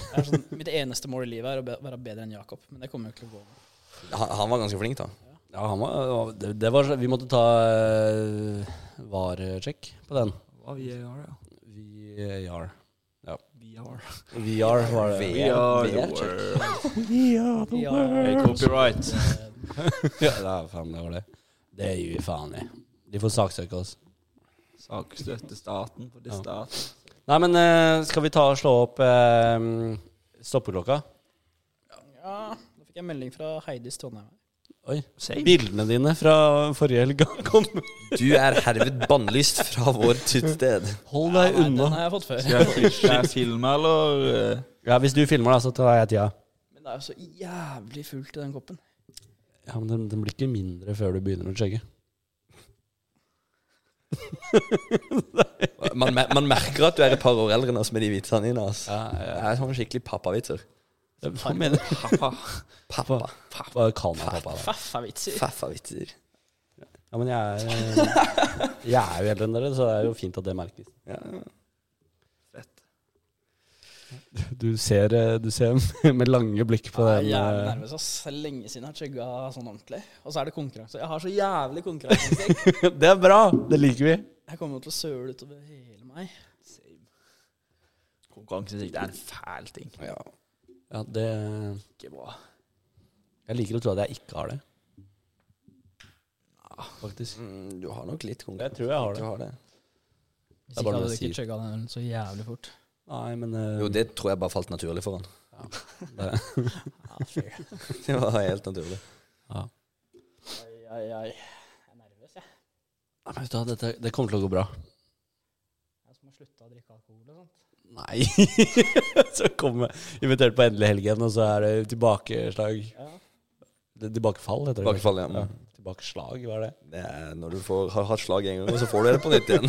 D: Det er sånn, mitt eneste mål i livet er å be være bedre enn Jakob, men det kommer jo ikke til å gå. med.
B: Han, han var ganske flink, da.
A: Ja, han var, det, det var, vi måtte ta eh, var-sjekk på den.
E: Hva vi er, ja.
A: VR.
E: Vi er.
A: VR var det.
B: VR.
E: the
B: check.
E: world.
D: Vi har-
E: Hey, copyright.
A: Ja, da, faen, det var det. Det gir vi faen i. De får saksøke oss.
E: Sakstøtte staten på det
A: Ja.
E: staten.
A: Nei, men eh, skal vi ta og slå opp eh, stoppeklokka?
D: Ja, da fikk jeg melding fra Heidis Trondheim.
A: Oi.
E: Same.
A: Bildene dine fra forrige helg kom.
B: Du er herved bannlyst fra vår tuttsted.
A: Hold
D: Nei,
A: deg
D: den
A: unna.
D: har jeg fått før.
E: Skal jeg, skal jeg filme, eller? eh?
A: Ja, Hvis du filmer, da, så tar jeg tida.
D: Men det er jo så jævlig fullt i den koppen.
A: Ja, men den, den blir ikke mindre før du begynner å sjekke.
B: Man, mer- man merker at du er et par år eldre enn oss med de vitsene dine. ass.
A: Ja,
B: Det
A: ja.
B: er sånn skikkelig pappavitser.
A: Hva mener du?
E: Pappa.
B: Pappa.
A: Hva kaller man pappa? da?
D: Faffavitser.
B: Faffavitser.
A: Ja, men jeg er, eh, jeg er jo eldre enn dere, så det er jo fint at det merkes.
B: Ja.
A: Du ser, eh, du ser med lange blikk på
D: Jeg er
A: den.
D: jævlig
A: eh,
D: nervøs. ass. Det er Lenge siden jeg har chugga sånn ordentlig. Og så er det konkurranse. Jeg har så jævlig konkurranseinstinkt.
A: Det er bra! Det liker vi.
D: Jeg kommer jo til å søle utover hele meg.
E: Same. Konkurranseinnsikt er en fæl ting.
A: Ja. ja, det
E: Ikke bra.
A: Jeg liker å tro at jeg ikke har det. Faktisk.
B: Mm, du har nok litt konkurranse.
A: Jeg tror jeg har
B: Du
A: det.
B: har det.
A: Det er
D: Hvis
A: bare
D: ikke
A: noe
D: hadde du
A: jeg
D: ikke
A: sier.
D: chugga den ølen så jævlig fort.
A: Nei, men eh,
B: Jo, det tror jeg bare falt naturlig for han.
A: det-
B: Det var helt naturlig.
A: ja.
D: Ai, ai, ai. Jeg er nervøs, jeg.
A: Nei, men vet du hva, dette, det kommer til å gå bra.
D: Jeg som har slutta å drikke alkohol og sånt.
A: Nei. så kommer invitert på endelig helgen, og så er det tilbakeslag.
D: Ja.
A: Det- Tilbakefall, heter det.
B: Tilbakefall, ja.
A: Ja. Tilbakeslag, hva er det?
B: Det er når du får, har hatt slag en gang, og så får du det på nytt igjen.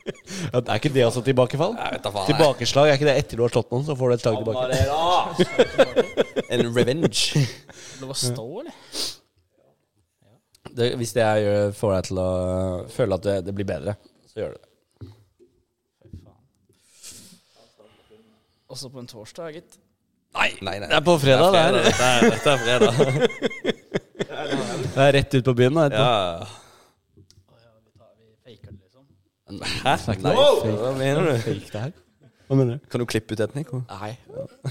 A: Ja, det er ikke det altså tilbakefall?
B: Jeg vet da faen. jeg.
A: Tilbakeslag er ikke det etter du har slått noen, så får du et slag tilbake.
B: En revenge.
D: Lov å stå, eller?
A: Det, hvis det jeg gjør, får deg til å eh, føle at det, det blir bedre, så gjør du det.
D: Også på en torsdag, gitt.
B: Nei, nei, nei.
A: Det er på fredag, det
B: fredag.
A: her.
B: Dette er, dette er fredag.
A: Det er rett ut på byen. Da,
B: Ja.
D: Vi
A: Hæ? Det er
D: faker det, liksom.
A: ikke noe
B: Wow!
A: fake,
B: Hva mener du?
A: fake det her. Hva mener du?
B: Kan du klippe ut det, Nico?
A: Nei.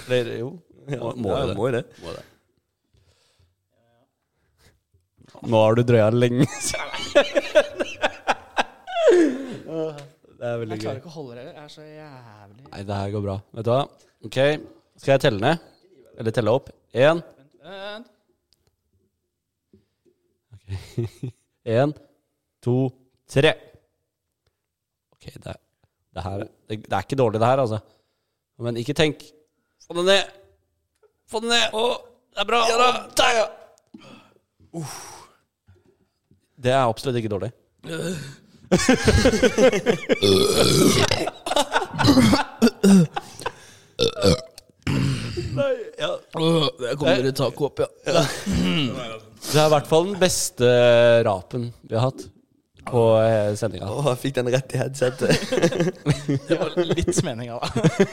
A: Eller Eh, jo. Må, må
B: ja,
A: du det?
B: må jo det.
A: Må det. Nå har du drøya lenge. det er veldig
D: Jeg
A: gøy.
D: klarer ikke å holde det heller. Jeg er så jævlig
A: Nei, det her går bra. Vet du hva? Ok, skal jeg telle ned? Eller telle opp? Én,
D: Vent.
A: én, to, tre. Ok, det, er- det her det, det er ikke dårlig, det her, altså. Men ikke tenk. Få det ned! Få det ned! Å, det er bra! Ja, da. Der, ja. Uff. Det er absolutt ikke dårlig.
D: Jeg kommer ut taco opp, ja.
A: Det er i hvert fall den beste rapen vi har hatt på eh, sendinga.
B: Å, jeg fikk den rett i headsetet.
D: Det var litt meninga, da.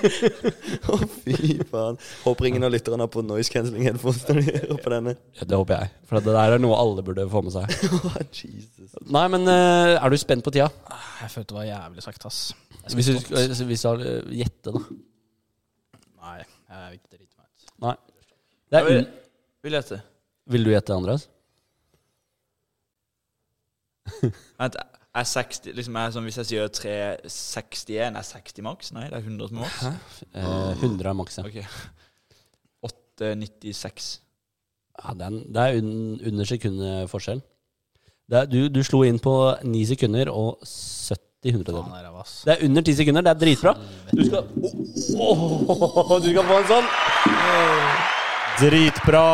B: Å, fy faen. Håper ingen av lytterne har på noise cancelling headphones når de hører på denne.
A: Ja, det håper jeg. For det der er noe alle burde få med seg.
B: Å, Jesus.
A: Nei, men eh, er du spent på tida?
D: Ah, Jeg følte det var jævlig sakte, ass.
A: Hvis du skal hvis du har eh, gjette, da.
D: Nei, jeg vil ikke drite meg ut.
A: Nei. Det er,
E: Vil,
A: un-
E: vil jeg til?
A: vil du gjette, Andreas?
E: Vent, jeg er 60, liksom jeg, er sånn, hvis jeg sier 361, er 60 maks? Nei, det er 100 som maks.
D: Ah.
A: Eh, 100 er maks, ja.
E: Ok. 896.
A: ja det er, en- det er un, under sekundet forskjell. Det er, du, du slo inn på 9 sekunder og 70
D: Faen,
A: hundredeler.
D: det er ræva, ass.
A: Det er under 10 sekunder. Det er dritbra. Du skal Åh, Du skal få en sånn! Dritbra!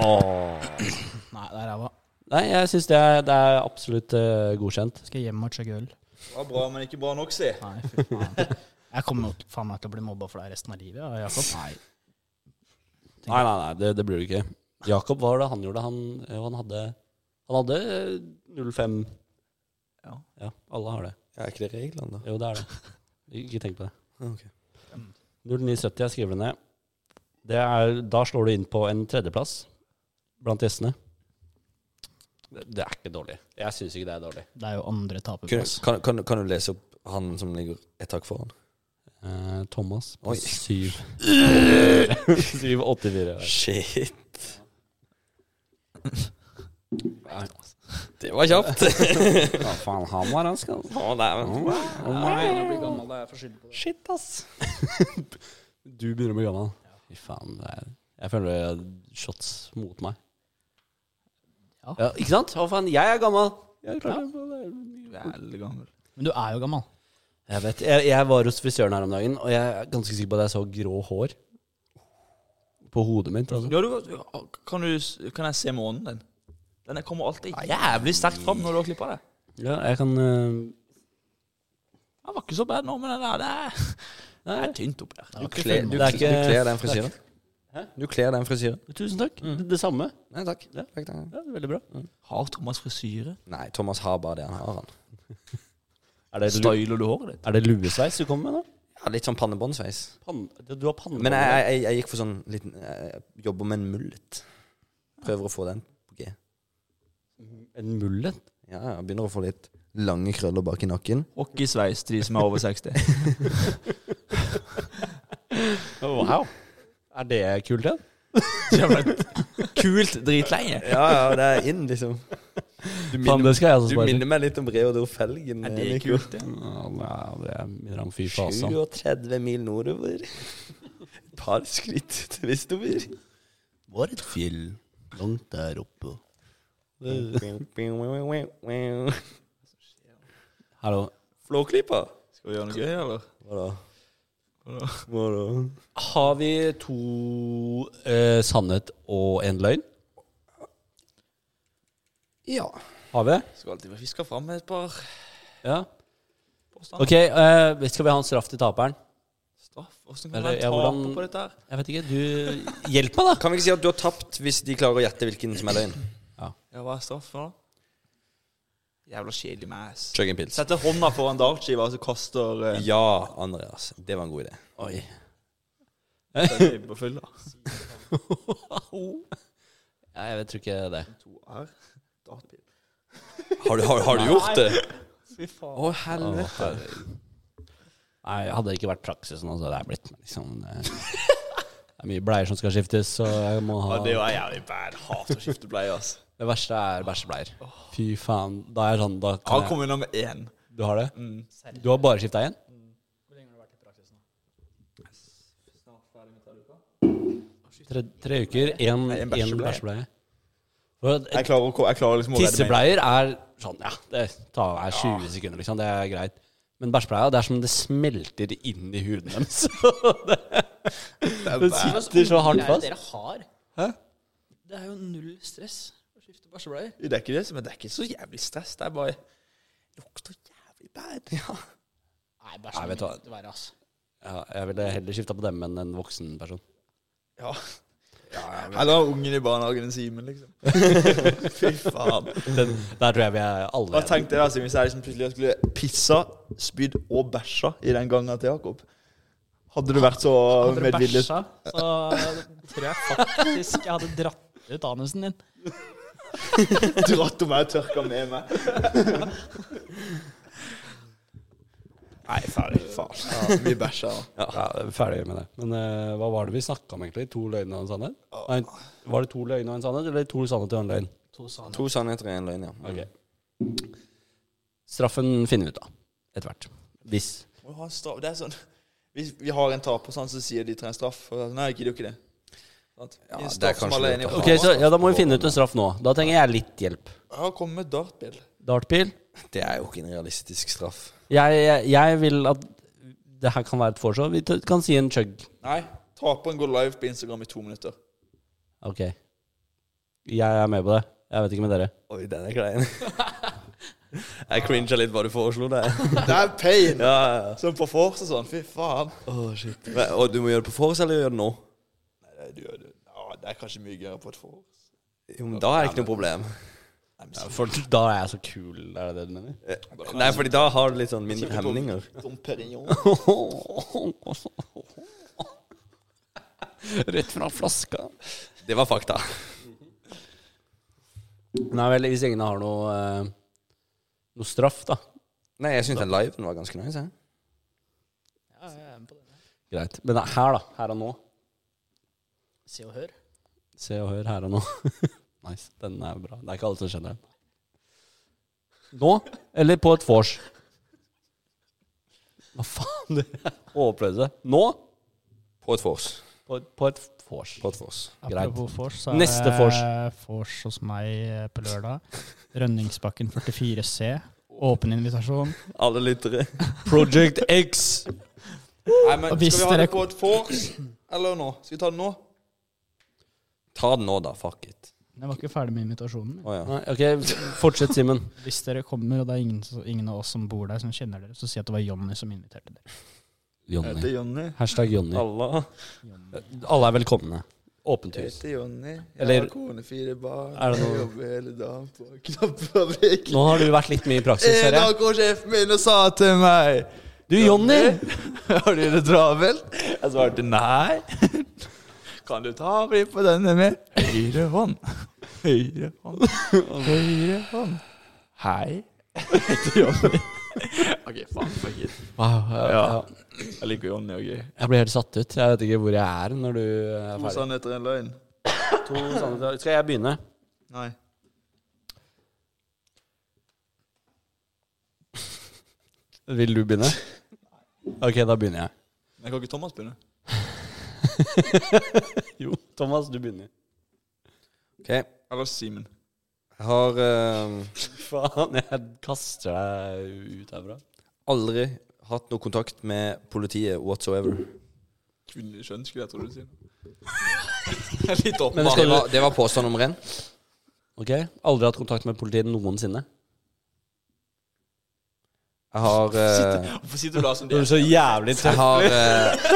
A: Åh.
D: Nei, det er ræva.
A: Nei, jeg syns det, er- det er absolutt eh, godkjent.
D: Skal jeg hjem og chugge øl?
C: Var bra, men ikke bra nok, si.
D: Nei, fy faen. Jeg kommer jo faen meg til å bli mobba for deg resten av livet, ja, Jakob. Nei.
A: Nei, nei, nei, det, det blir det ikke. Jakob, hva var det han gjorde? Han, jo, han hadde Han hadde eh, 05
E: Ja.
A: ja. Alle har det.
B: Ja, er ikke det reglene, da?
A: Jo, det er det. Ikke tenk på det.
B: Ok.
A: 0970, jeg skriver det ned. Det er, da slår du inn på en tredjeplass blant gjestene. Det, det er ikke dårlig. Jeg syns ikke det er dårlig.
D: Det er jo andre
B: Kan,
D: taperplass.
B: kan, kan, kan du lese opp han som ligger et tak foran?
A: Eh, Thomas på
B: Oi.
A: 7 784.
B: Shit.
A: Nei,
B: Det var kjapt.
A: Hva faen, han var altså. han skal
B: Å, dæven.
A: Shit, ass. du begynner å bli gammel. Fy faen. Det er, jeg føler det er shots mot meg.
D: Ja.
A: Ikke sant? Hva faen, jeg er gammel. Jeg, klarer det.
E: Veldig gammel.
D: Men du er jo gammel.
A: jeg vet jeg, jeg var hos frisøren her om dagen, og jeg er ganske sikker på at jeg så grå hår på hodet mitt. Altså.
E: Ja, du, ja, kan, du, s- kan jeg se månen din? Den er- kommer alltid jævlig sterkt fram når du har klippa det.
A: Ja, jeg kan øh,
E: Den var ikke så bad nå, men den der, det er, det er tynt oppi der.
B: Du kler, du,
A: Det er
B: kler-
A: ikke-
B: du kler den frisyren. Du kler den frisyren.
A: Tusen takk. Det, det samme. Mm.
B: Nei takk.
A: Ja.
B: Takk, takk.
A: Ja, veldig bra.
E: Har Thomas frisyre?
B: Nei, Thomas har bare det han har. han
A: Er det, lu,
E: Styler du håret ditt?
A: er det luesveis du kommer med nå?
B: ja, Litt sånn pannebåndsveis.
A: Pann, du har panne
B: Men jeg, jeg, jeg, jeg gikk for sånn liten Jeg jobber med en mullet. Prøver å få den på G.
A: En mullet?
B: Ja, jeg begynner å få litt lange krøller bak i nakken.
E: Hockeysveis til de som er over 60.
A: Wow. Er det kult, det?
E: Jævla Kult, dritleie.
B: Ja, ja, det er inn, liksom. Du
A: Faen, det
B: minner,
A: skal jeg også
B: du
A: spørre.
B: minner meg litt om Reodor Felgen.
E: Er det
B: Nico.
E: kult, det?
A: Ja, det minner om fy fasan.
B: altså. 37 mil nordover. Et par skritt til vestover.
A: Var et fjell langt der oppe. Hallo.
B: Flåklypa.
E: Skal vi gjøre noe gøy, eller?
B: Hva da?
E: Hva da?
B: Hva da?
A: Har vi to eh, sannhet og en løgn?
B: Ja.
A: Har vi?
C: Skal alltid være fiska fram med et par
A: Ja.
C: påstander.
A: Ok, eh, skal vi ha en straff til taperen?
C: Straff? Åssen kan
A: Eller,
C: man
A: ja,
C: tape
A: hvordan-
C: på dette her?
A: Jeg vet ikke. Du Hjelp meg, da!
B: Kan vi ikke si at du har tapt hvis de klarer å gjette hvilken som er løgn?
C: Ja, hva er straff for da?
E: Jævla kjedelig mass.
B: Chug en pils.
C: Setter hånda foran dartskiva, og så kaster eh,
B: Ja, Andreas. Det var en god idé.
A: Oi.
C: den på fylla.
A: Ja, jeg vet, tror ikke det.
C: To R. Dartbil.
B: Har du, har, har du gjort det?
D: Fy faen.
B: Å, helvete.
A: Nei, hadde det ikke vært praksisen, altså. Det er blitt men liksom eh, Det er mye bleier som skal skiftes, så jeg må ha
C: Ja, det var jævlig bad. Hater å skifte bleie, ass.
A: Det verste er bæsjebleier. Fy faen. Da er jeg sånn, da
C: Han
A: kan jeg
C: kom Mm. unna med én.
A: Du har det? Du har bare skifta én? Tre, tre uker, én
C: en
A: én
C: bæsjebleie.
A: bæsjebleie. For
C: Jeg klarer, å ko- jeg klarer liksom å redde meg.
A: Tissebleier er sånn, ja. Det tar er 20 sekunder, liksom. Det er greit. Men bæsjebleia, det er som det smelter inn i huden deres. det, det sitter så hardt fast.
D: Dere har.
A: Hæ?
D: Det er jo null stress å skifte bæsjebleier.
C: Det er ikke det, som- men det er ikke så jævlig stress. Det er bare lukter jævlig bad.
D: Nei,
A: Nei, vet
D: bæsjen
A: du hva.
D: er ikke verre, ass.
A: Ja, jeg ville heller skifta på dem enn en voksen person.
C: Ja. Eller ungen i barnehagen en Simen, liksom. Fy faen.
A: Den, der tror jeg vi er alle
C: Hva tenkte jeg da, Simen, hvis jeg liksom plutselig skulle pissa, spydd og bæsja i den gangen til Jakob? Hadde du vært så
D: Hadde du
C: medvillig
D: bæsja, så tror jeg faktisk jeg hadde dratt ut anusen din.
C: dratt om jeg tørka med meg? Nei, ferdig. Faen. Ja, mye bæsja. da.
A: Ja, ferdig med det. Men eh, hva var det vi snakka om, egentlig? To løgner og en sannhet? Nei, var det to løgner og en sannhet, eller to sannheter og en løgn?
D: To sånne.
B: To sannheter og en løgn, ja. Mm.
A: Ok. Straffen finner vi ut av etter hvert. Hvis.
C: Må jo ha en straff. Det er sånn Hvis vi har en taper, sånn, så sier de tre en straff. Og så, nei, jeg gidder jo ikke det. Sant?
B: Ja,
C: en
B: det er
C: straff som
B: kanskje
C: alle
B: lurt,
C: er enige
B: da.
C: om.
A: Ok, så ja, Da må vi finne ut en straff nå. Da trenger jeg litt hjelp.
C: Jeg har kommet med dartbil.
A: Dartpil?
B: Det er jo ikke en realistisk straff.
A: Jeg, jeg, jeg vil at det her kan være et forsvar. Vi t- kan si en chug.
C: Nei, taperen går live på Instagram i to minutter.
A: Ok. Jeg er med på det. Jeg vet ikke med dere.
B: Oi, den er klein. Jeg cringa litt hva du foreslo der.
C: Det er pain!
B: Ja, ja, ja.
C: Som på force og sånn. Fy faen.
B: Men, og du må gjøre det på vors, eller gjøre det nå?
C: Nei, du, gjør det. ja, det er kanskje mye gøyere på et force.
B: Jo, men Da er det ikke noe problem.
A: For da er jeg så kul, er det det du mener?
B: Eh, Nei, fordi da har du litt sånn mindre hemninger.
C: Dom Perignon.
A: Rett fra flaska.
B: Det var fakta.
A: Nei vel, hvis ingen har noe eh, Noe straff, da.
B: Nei, jeg syns den liven var ganske nice. Jeg.
D: Ja, jeg er med på det.
A: Greit. Men det er her, da. Her og nå.
D: Se og hør.
A: Se og hør her og nå. nice. Den er bra. Det er ikke alle som skjønner den. Nå, eller på et vors? Hva faen? Dere er håpløse. Nå,
B: På et vors.
A: på, på et vors.
B: På et vors.
A: Greit.
D: Apropos vors, så
A: Neste vors.
D: vors hos meg eh, på lørdag. Rønningsbakken 44C. Åpen invitasjon.
B: Alle lyttere.
A: Project X.
C: Nei, men
D: Og
C: skal
D: hvis
C: vi ha det
D: dere-
C: på et force eller nå? Skal vi ta det nå?
B: Ta den nå, da. Fuck it.
D: Jeg var ikke ferdig med invitasjonen.
B: Å ja.
A: Nei, ok, fortsett, Simen.
D: Hvis dere kommer, og det er ingen, så- ingen av oss som bor der, som kjenner dere, så si at det var Jonny som inviterte dere.
C: Jeg heter Jonny.
A: Hashtag Jonny.
B: Allah.
A: Alle er velkomne. Åpent
C: Jeg
A: hus.
C: heter Jonny. Jeg
A: Eller-
C: har kone, fire barn.
A: Er det
C: Jeg
A: noe-
C: jobber hele dagen på knappefabrikk.
A: Nå har du vært litt mye i praksis,
C: En
A: hører jeg.
C: dag kom sjefen min og sa til meg
A: Du, Jonny!
C: Har du det travelt? Jeg svarte nei. Kan du ta bli på denne med høyre hånd? Høyre hånd, høyre hånd. Hei,
E: Heter Jonny. OK, faen, fuck it.
A: Wow, ja, ja.
E: Ja. Jeg liker Jonny òg, jeg.
A: Jeg blir helt satt ut. Jeg vet ikke hvor jeg er når du er
C: To
A: ferdig.
C: sannheter, en løgn.
A: To sannheter. Skal jeg begynne?
C: Nei.
A: Vil du begynne? Ok, da begynner jeg.
C: Men kan ikke Thomas begynne?
A: Jo, Thomas, du begynner.
B: OK. Jeg
E: Eller Simen.
B: har eh,
A: Faen, jeg kaster deg ut herfra.
B: aldri hatt noe kontakt med politiet whatsoever.
E: Kvinnelig kjønn, skulle jeg tro du sier. Jeg er litt
A: Men
E: oppe.
A: skal
B: Det
A: du
B: var, det var påstand nummer én.
A: Ok, Aldri hatt kontakt med politiet noensinne.
B: Jeg har eh,
E: Hvorfor sitter du da som
A: Du
E: det?
A: er så jævlig
B: Jeg har, eh,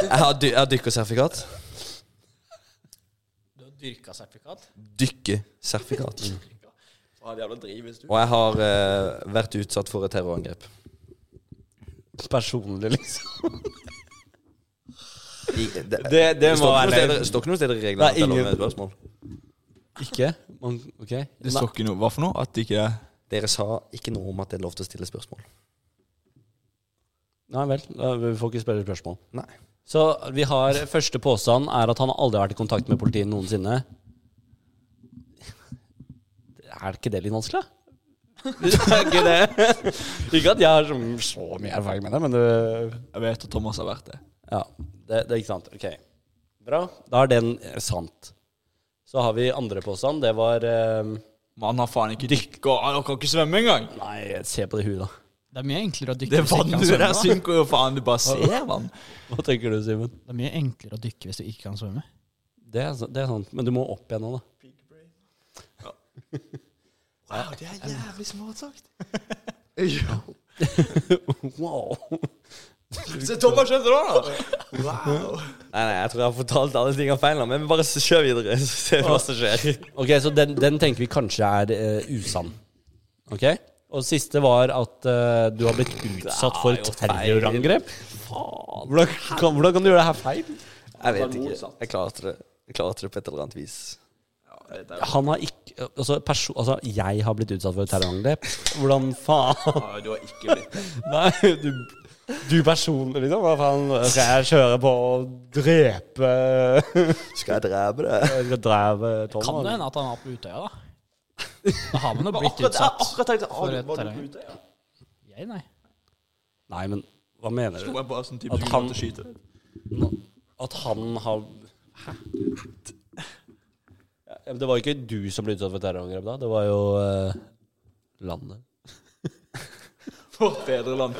B: jeg har, dy jeg har dykkersertifikat.
D: Du har dyrka sertifikat?
B: Dykkersertifikat.
E: Ah, det er jævla driv hvis du
B: Og jeg har eh, vært utsatt for et terrorangrep.
A: personlig, liksom.
B: I, det, det,
A: Det, det
B: står
A: må
B: ikke noe
A: være
B: sted-
A: løgn.
B: det står ikke noe sted
A: Det
B: i
A: er
B: reglene
A: ingen-
B: om spørsmål.
A: Ikke? Man, ok.
E: Det står ikke noe Hva for noe? At det ikke er
B: Dere sa ikke noe om at det er lov til å stille spørsmål.
A: Nei vel, da- vi får ikke spørre spørsmål.
B: Nei.
A: Så vi har første påstand er at han aldri har vært i kontakt med politiet noensinne. Er ikke det litt vanskelig, da? Er ikke det? Ikke at jeg har så, så mye erfaring med det, men det
E: Jeg vet at Thomas har vært det.
A: Ja, det, det er ikke sant. Ok. Bra. Da er den eh, sant. Så har vi andre påstand. Det var eh,
E: Man har faen ikke dykka, han kan ikke svømme engang!
A: Nei, se på det huet, da.
D: Det er mye enklere å dykke
E: Det
D: hvis du ikke kan
E: vannet
D: svømme.
E: der
D: da.
E: synker jo faen, du bare ser vann.
A: Hva tenker du, Simen?
D: Det er mye enklere å dykke hvis du ikke kan svømme.
A: Det, er sa- det er sant. Men du må opp igjen nå, da.
E: Wow, det er jævlig smart sagt.
A: Wow.
E: Se, Thomas skjønte det, da! Wow.
B: Nei, nei, jeg tror jeg har fortalt alle tingene feil nå, men bare s- kjør videre. Så ser vi hva som skjer.
A: Ok, så den, den tenker vi kanskje er eh, usann. Ok? Og siste var at eh, du har blitt utsatt for terrorangrep. Hvordan kan, hvordan kan du gjøre det her feil?
B: Jeg vet ikke. Jeg klarte det. Jeg klarte det på et eller annet vis.
A: Han har ikke Altså, perso altså jeg har blitt utsatt for et terrorangrep. Hvordan faen?
E: Ah, du har ikke blitt det.
A: Nei, du, du personlig, liksom. Hva faen skal jeg kjøre på å drepe
B: Skal jeg drepe det?
A: Jeg skal drepe Tom? altså.
D: Kan det hende at han var på Utøya, da? Da har man jo blitt utsatt for et terreng. Jeg, nei.
A: Nei, men hva mener
E: Det
A: du?
E: var bare sånn type
A: At
E: som
A: han-
E: måtte skyte deg.
A: At han har Hæ? Det var jo ikke du som ble utsatt for terrorangrep da. Det var jo eh, landet.
E: Vårt bedre land.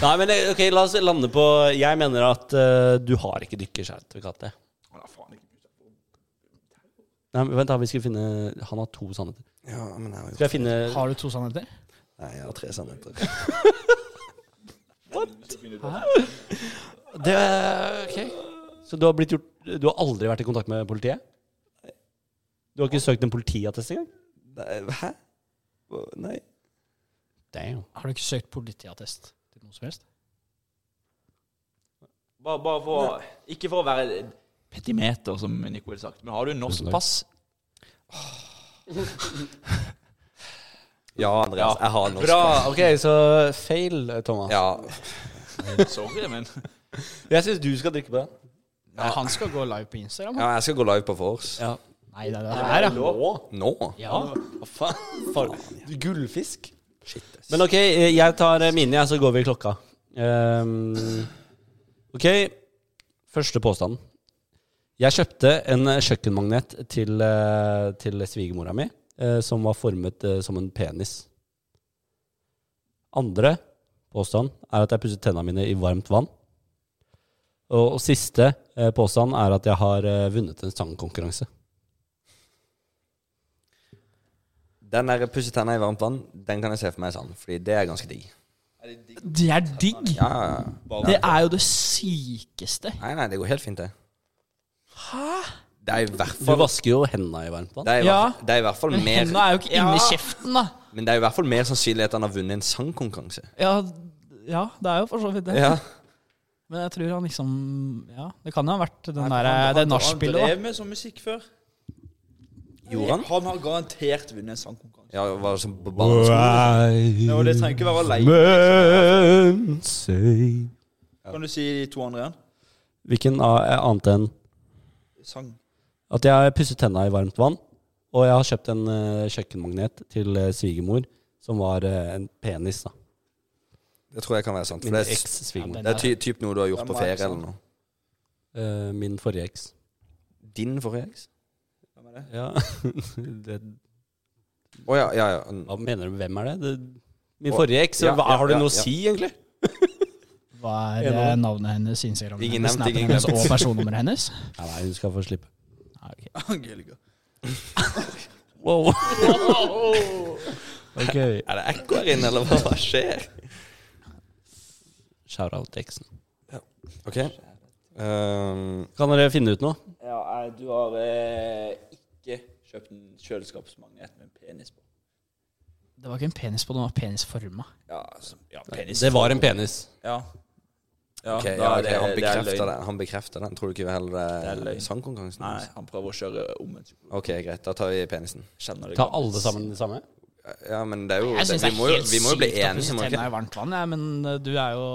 A: Nei, men eh, ok, la oss lande på Jeg mener at eh, du har ikke dykkersertifikat. det.
E: Han har faen ikke blitt det.
A: Nei, men vent da, vi skal finne Han har to sannheter.
B: Ja, men jeg har jo
A: Skal jeg finne
D: Har du to sannheter?
B: Nei, jeg har tre sannheter.
A: Det Ok. Så du har, blitt gjort, du har aldri vært i kontakt med politiet? Du har ikke søkt en politiattest engang?
B: Nei, Hæ? Hva- Nei.
A: Damn.
D: Har du ikke søkt politiattest til noe som helst?
E: Bare, bare for å- Ikke for å være petimeter, som Nico ville sagt, men har du norsk pass?
B: Ja, Andreas, jeg har norsk.
A: Bra. Ok, så fail, Thomas.
B: Ja.
E: Sorry, men
A: Jeg syns du skal drikke på den.
D: Ja, han skal gå live på Instagram. han.
B: ja, jeg skal gå live på vors.
A: Ja.
D: Nei, det er det her, ja.
B: Nå?
D: ja.
A: Hva faen? For, gullfisk? Men ok, jeg tar eh, mine, jeg, så går vi i klokka. Ehm, ok, første påstand. Jeg kjøpte en eh, kjøkkenmagnet til, eh, til svigermora mi, eh, som var formet eh, som en penis. Andre påstand er at jeg pusset tennene mine i varmt vann. Og, og siste eh, påstand er at jeg har eh, vunnet en sangkonkurranse.
B: Den der pusse tenna i varmt vann, den kan jeg se for meg er sann, fordi det er ganske digg.
D: Det er digg.
B: Ja, ja, ja.
D: Det er jo det sykeste.
B: Nei, nei, det går helt fint, det. Hæ? Det er i hvert
A: Du
B: fall
A: vasker jo hendene i varmt vann.
B: Det er i,
D: Ja.
B: hvert, det er i hvert fall
D: Men
B: mer
D: hendene er jo ikke inni kjeften, da.
B: Men det er i hvert fall mer sannsynlig at han har vunnet en sangkonkurranse.
D: Ja, ja, det er jo for så vidt det.
B: Ja.
D: Men jeg tror han liksom Ja, det kan jo ha vært den
C: Nei,
D: der,
C: for han-
D: det
C: han- Han
D: nachspielet,
C: drev med sånn musikk før.
D: da.
B: Gjorde han?
C: Han har garantert vunnet en sangkonkurranse.
B: Ja, var det sånn på barneskolen?
C: Ja, og det trenger ikke være liksom. alene. Kan du si de to andre igjen?
A: Hvilken av- er annet enn
C: Sang.
A: at jeg har pusset tenna i varmt vann, og jeg har kjøpt en eh, kjøkkenmagnet til eh, svigermor som var eh, en penis, da.
B: Det tror jeg kan være sant. For
A: Min
B: det er, s-
A: eks-svigermor.
D: Ja, den-
B: det er ty, typ noe du har gjort på ferie eller noe.
A: Eh, min forrige eks.
B: Din forrige eks?
C: Hvem er det?
A: Ja. det,
B: Å ja, ja, ja.
A: hva mener du, hvem er det? det min
B: Å,
A: forrige eks?
B: ja,
A: hva,
B: ja,
A: har det
B: ja,
A: noe å
B: ja.
A: si, egentlig?
D: Hva er
A: Enig.
D: eh, navnet hennes, Instagram
B: Ingen
D: hennes,
B: nevnt,
D: snappen
B: ingen
D: hennes
B: glemt.
D: og personnummeret hennes?
A: Nei, nei, hun skal få slippe.
D: Ah, ok.
C: Angelica.
A: Wow. ok.
B: Er det ekko her inne, eller hva skjer?
A: Shout-out til eksen.
B: Ok. Ehm,
A: Kan dere finne ut noe?
C: Ja, eh, du har eh, ikke kjøpt en kjøleskapsmagnet med en penis på.
D: Det var ikke en penis på, den var penisforma.
C: Ja, altså, ja penis.
A: Det var en penis.
C: Ja. Ja,
B: ok,
C: da
B: ja,
C: er
B: ok, han
C: det er
B: bekrefter
C: løgn.
B: den. Han bekrefter den. Tror du ikke heller
C: Det er
B: det
C: løgn.
B: er sangkonkurransen?
C: Nei,
B: hans?
C: han prøver å kjøre omvendt.
B: Ok, greit. Da tar vi penisen.
C: Kjenner det
A: Ta
C: godt.
A: alle sammen det samme?
B: Ja, men det er jo
D: Jeg
B: det,
D: syns det
B: vi,
D: er
B: må jo,
D: helt
B: vi må jo
D: sykt
B: bli
D: å
B: enige.
D: pusse
B: Må vi
D: tenna
B: ikke?
D: i varmt vann, ja, men eh, du er jo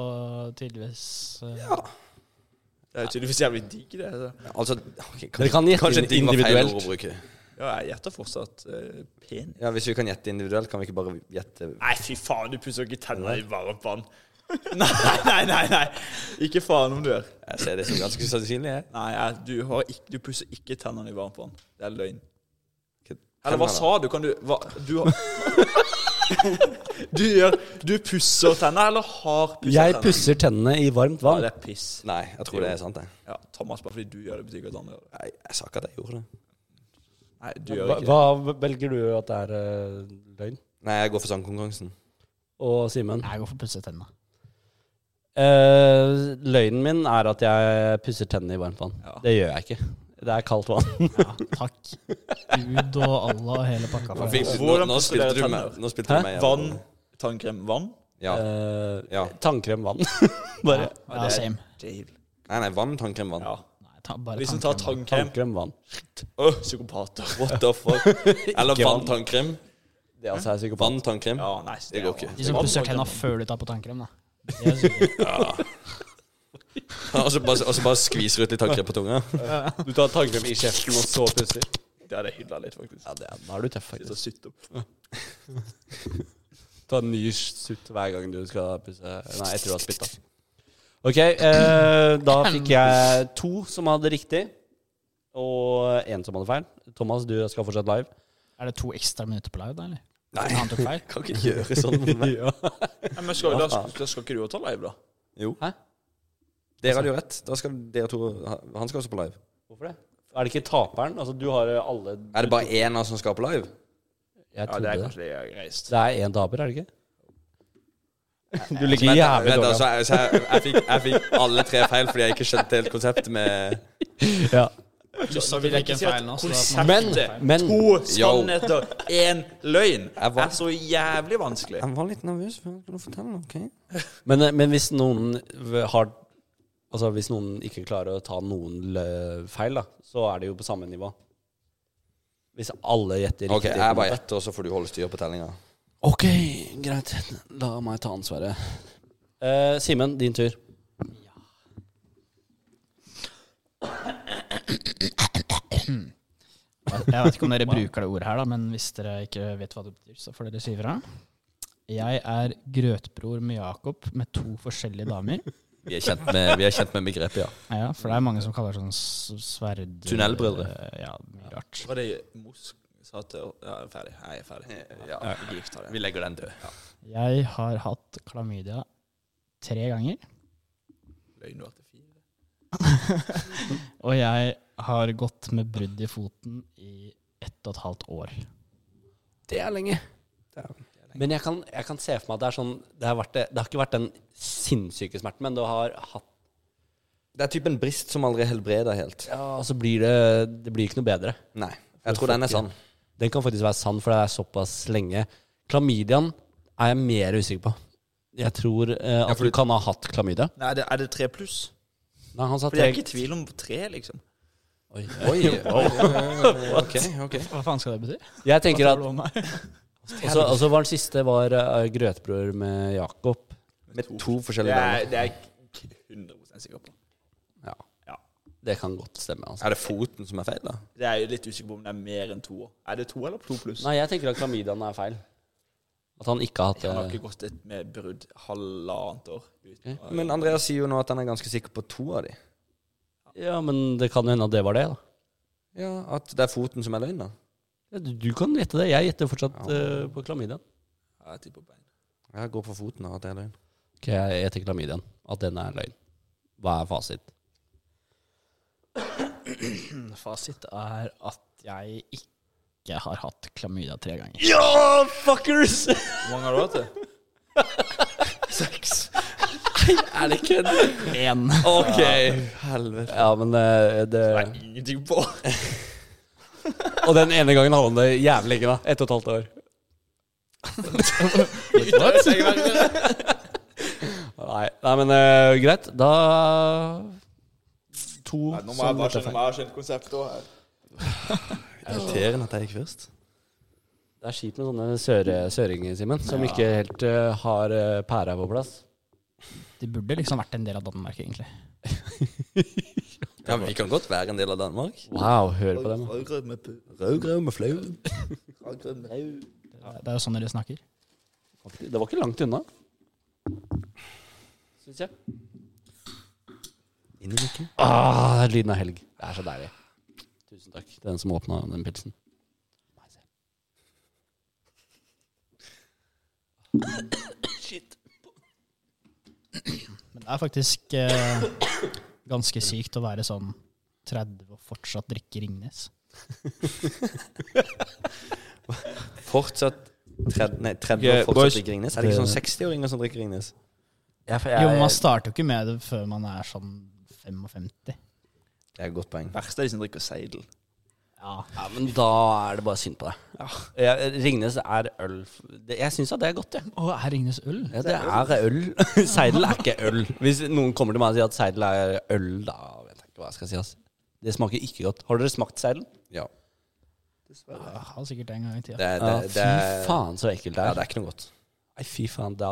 D: tydeligvis eh,
C: Det er jo tydeligvis jævlig digg, det. altså.
B: Altså, ok,
A: Dere kan gjette
B: kanskje digg var feil ord
A: individuelt.
B: å bruke.
C: Ja, jeg gjetter fortsatt eh, penis.
B: Ja, Hvis vi kan gjette individuelt, kan vi ikke bare gjette
C: Nei, fy faen, du pusser ikke tenner i varmt vann. nei, nei, nei, nei. Ikke faen om du gjør.
B: Jeg ser det som ganske sannsynlig. jeg.
C: Nei, jeg, du, har ikke, du pusser ikke tennene i varmt vann. Det er løgn.
B: Ikke
C: Eller hva
B: tenner,
C: sa du? Kan du hva, Du har Du gjør Du pusser tenner, eller har pusset
A: Jeg
C: tenner?
A: pusser tennene i varmt
C: Ja,
A: vann.
C: det er piss.
B: Nei, jeg tror det er sant, jeg.
C: Ja, Thomas, bare fordi du gjør det, betyr ikke at andre gjør det.
B: Nei, Jeg sa ikke at jeg gjorde det.
C: Nei, du gjør
A: Hva,
C: ikke det.
A: hva velger du at det er eh, løgn?
B: Nei, jeg går for sangkonkurransen.
A: Og Simen?
D: Jeg går for pusse tenna.
A: Eh, løgnen min er at jeg pusser tennene i varmt vann.
C: Ja.
A: Det gjør jeg ikke. Det er kaldt vann.
D: Ja, takk. Gud og Allah og hele pakka. For det.
C: fikk-
B: Nå,
C: Hvordan
B: nå spilte
C: pusser
B: du
C: dere
B: meg.
C: tenner?
B: Nå spilte
A: Hæ?
B: du meg
C: Vann, tannkrem, vann.
B: Ja.
A: Eh,
B: Ja.
A: Tannkrem vann. Bare
D: Ja, same.
C: Jail.
B: Nei, nei, vann, tannkrem, vann.
C: Ja.
D: Nei, ta, bare
C: Hvis du tar
D: tannkrem.
C: tannkrem
A: tannkrem vann.
C: Åh, Psykopater.
B: What the fuck? Eller
A: Ikke vann.
B: vann, tannkrem.
A: Det er altså jeg er psykopat.
B: Vann, tannkrem.
C: Ja, nei,
B: Det går ikke.
D: De som pusser tenna før du tar på tannkrem, da. Det er sikkert-
B: Og så bare, og så bare skviser ut litt tannkrem på tunga.
A: Du tar tannkrem i kjeften, og så pusser.
C: Det hadde jeg hylla litt, faktisk.
A: Ja, det er, da er du tøff,
C: Sitte og
A: faktisk.
C: sutte opp.
A: Ta en ny sutt hver gang du skal pusse Nei, etter du har spytta. Ok, eh, da fikk jeg to som hadde riktig, og én som hadde feil. Thomas, du skal fortsatt live.
D: Er det to ekstra minutter på live, da, eller?
B: Nei.
D: Han tok feil.
B: Kan ikke gjøre sånn mot meg.
A: Ja.
C: Nei, men skal, da, skal, da skal ikke du også ta live, da?
B: Dere hadde jo rett. Da skal dere to Han skal også på live.
A: Hvorfor det? Er det ikke taperen? Altså, du har alle
B: Er det bare én av oss som skal på live?
A: Jeg
C: Ja, det
A: trodde
C: er
A: det.
C: kanskje det jeg har reist.
A: Det er én taper, er det ikke? Du ligger
B: Vent,
A: jævlig
B: vent,
A: dårlig
B: altså, jeg, så jeg, jeg, fikk, jeg fikk alle tre feil fordi jeg ikke skjønte helt konseptet med
A: Ja.
D: Så vil jeg ikke si at
C: Altså,
D: konsert
A: Men, men
C: To
B: Yo.
C: sannheter, én løgn
B: Jeg var-
C: er så jævlig vanskelig.
B: Jeg var litt nervøs. for Kan du fortelle ok?
A: Men, eh, men hvis noen v- har Altså hvis noen ikke klarer å ta noen lø- feil, da, så er det jo på samme nivå. Hvis alle gjetter
B: Ok,
A: riktig.
B: Jeg bare gjetter, og så får du holde styr på tellinga.
A: Ok, greit. La meg ta ansvaret. Eh, Simen, din tur.
D: Jeg vet ikke om dere bruker det ordet her, da, men hvis dere ikke vet hva det betyr, så får dere si ifra. Jeg er grøtbror med Jakob med to forskjellige damer.
B: Vi er kjent med, vi er kjent med begrepet, ja.
D: Ja, for det er mange som kaller det sånn s- sverd...
B: Tunnelbrødre.
D: Ja, mye rart.
C: Var det Mos sa til Ja, jeg er ferdig. Jeg er ferdig.
B: Ja,
C: Jeg gifter deg.
B: Vi legger den død.
D: Jeg har hatt klamydia tre ganger,
C: Løgn du har til fire.
D: og jeg har gått med brudd i foten i ett og et halvt år.
A: Det er lenge. Men jeg kan, jeg kan se for meg at det er sånn det har, vært det, det har ikke vært den sinnssyke smerten, men du har hatt
B: Det er typen brist som aldri helbreder helt.
A: Ja, så blir det Det blir ikke noe bedre.
B: Nei. Jeg tror den er sann.
A: Den kan faktisk være sann, for det er såpass lenge. Klamydiaen er jeg mer usikker på. Jeg tror eh, at du kan ha hatt klamydia.
C: Nei, det, er det tre pluss?
A: Nei, han sa
C: For jeg
A: tre.
C: er ikke i tvil om tre, liksom.
A: Oi.
B: Oi. ok, ok.
D: Hva faen skal det bety?
A: Jeg tenker at altså,
D: at
A: også, også var den siste var eh, grøtbrød med Jakob.
B: Med to
E: Det
B: forskjellige
E: er,
B: navn.
E: det er jeg ikke 100 sikker på.
A: Det kan godt stemme. altså.
B: Er det foten som er feil, da?
E: Det er jeg litt usikker på om det er mer enn to år. Er det to eller to pluss?
A: Nei, jeg tenker at klamydiaen er feil. At han ikke har hatt eh,
E: Han har
A: det.
E: ikke gått et med brudd halvannet år. Uten. å-
B: Men Andreas sier jo nå at han er ganske sikker på to av de.
A: Ja, men det kan jo hende at det var det, da.
B: Ja, At det er foten som er løgn, da.
A: Ja, du- du kan gjette det. Jeg gjetter fortsatt eh, på klamydiaen.
E: Ja, jeg tipper bein.
B: Jeg går for foten og at det er løgn.
A: Ok, jeg gjetter klamydiaen. At den er løgn. Hva er fasit?
D: Fasit er at jeg ikke har hatt klamydia tre ganger.
A: Ja, fuckers!
E: Hvor mange har du hatt? det?
A: er det kødd?
D: Én.
A: Ok.
B: Helvete.
A: Ja, men eh, det
E: Ingenting på.
A: Og den ene gangen hadde han det jævlig lenge, da. Ett og et halvt år. Nei, nei men eh, greit. Da To
E: Ah,
C: Nei, nå må jeg
A: som
C: bare
A: dette er
C: skjønne
A: feil.
C: om jeg har skjønt konseptet òg her.
B: Irriterende at jeg gikk først.
A: Det er kjipt med sånne søre, søringer, Simen, som ikke helt eh, har eh, pæra på plass.
D: Det burde liksom vært en del av Danmark, egentlig.
B: Ja, Vi kan godt være en del av Danmark.
A: Wow, hør på dem. da.
C: Rødgrøt med pu-
B: Rødgrøv med flau.
C: rødgrøt med
D: Det er jo sånn dere snakker.
A: Det var ikke langt unna. Syns jeg.
B: Inni mikken.
A: Ah, lyden av helg. Det er så deilig. Tusen takk til den som åpna den pilsen.
D: Men det er faktisk eh, ganske sykt å være sånn 30 og fortsatt drikke Ringnes.
B: Fortsatt tred, nei, 30
A: Ok,
B: år
A: boys.
B: fortsatt drikker Ringnes. Er det ikke sånn 60-åringer som drikker Ringnes?
D: Jo, men man starter jo ikke med det før man er sånn 55.
B: Det er et godt poeng.
E: Verste er de som drikker seidel.
D: Ja.
A: Ja, men da er det bare synd på deg. Jeg- Ringnes er øl Det- Jeg syns at det er godt, jeg.
D: Å, er Ringnes øl?
A: Ja, det er øl. seidel er ikke øl. Hvis noen kommer til meg og sier at seidel er øl, da vet jeg ikke hva jeg skal si. Ass. Det smaker ikke godt. Har dere smakt seidel?
B: Ja.
D: Ja, har sikkert en gang i
B: Det,
D: tida.
B: er-
A: Ja,
B: det, det,
A: Ah, fy
B: er-
A: faen, så ekkelt det
B: Ja,
A: er.
B: det er ikke noe godt.
A: Nei, fy faen, da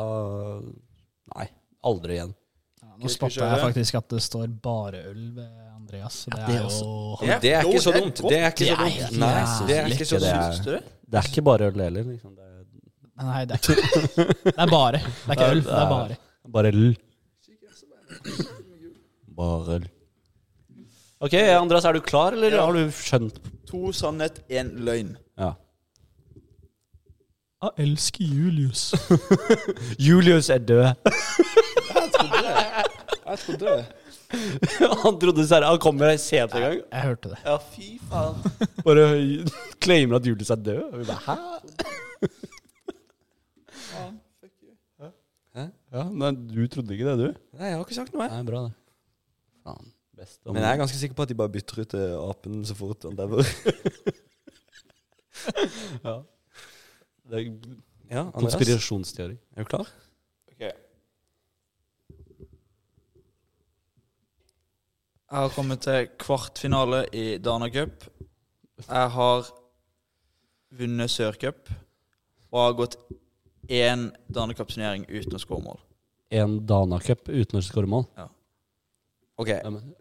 A: Nei, aldri igjen.
D: Ja, nå spotta jeg faktisk at det står bare øl ved Andreas. Så det
A: det
D: er
A: også.
D: jo
B: Men det er
C: Jo,
B: ikke så
C: det er
B: dumt.
C: godt.
B: Det er ikke så
D: Det er
B: dumt.
D: ikke
B: Nei,
D: så
B: det er ikke så
A: Det er-
B: dumt.
A: Det er ikke bare øl heller. Liksom. Det er
D: Nei, det er ikke Det er bare. Det er ikke øl, det er bare.
A: bare øl. Bare øl. Ok, Andreas, er du klar, eller
C: Ja.
A: har du skjønt?
C: To sannhet, én løgn.
A: Ja.
D: Jeg elsker Julius.
A: Julius er død.
C: Jeg trodde det.
A: han trodde seriøst Han kommer her sent en gang.
D: Jeg hørte det.
A: Ja, fy faen. Bare claimer at Julius er død. Og vi bare, hæ?
B: Hæ?
A: Ja, nei, du trodde ikke det, du?
B: Nei, jeg har ikke sagt noe, jeg.
A: Nei, bra det. Faen. Best om
B: Men jeg er ganske sikker på at de bare bytter ut eh, apen så fort han dauer.
A: ja. Det er
B: Ja, Andreas.
A: konspirasjonsteori.
B: Er du klar?
E: Jeg har kommet til kvartfinale i Dana Cup. Jeg har vunnet Sørcup og har gått én Dana Cup-turnering uten å skåre mål.
A: En Dana-cup uten å skåre mål.
B: Ok,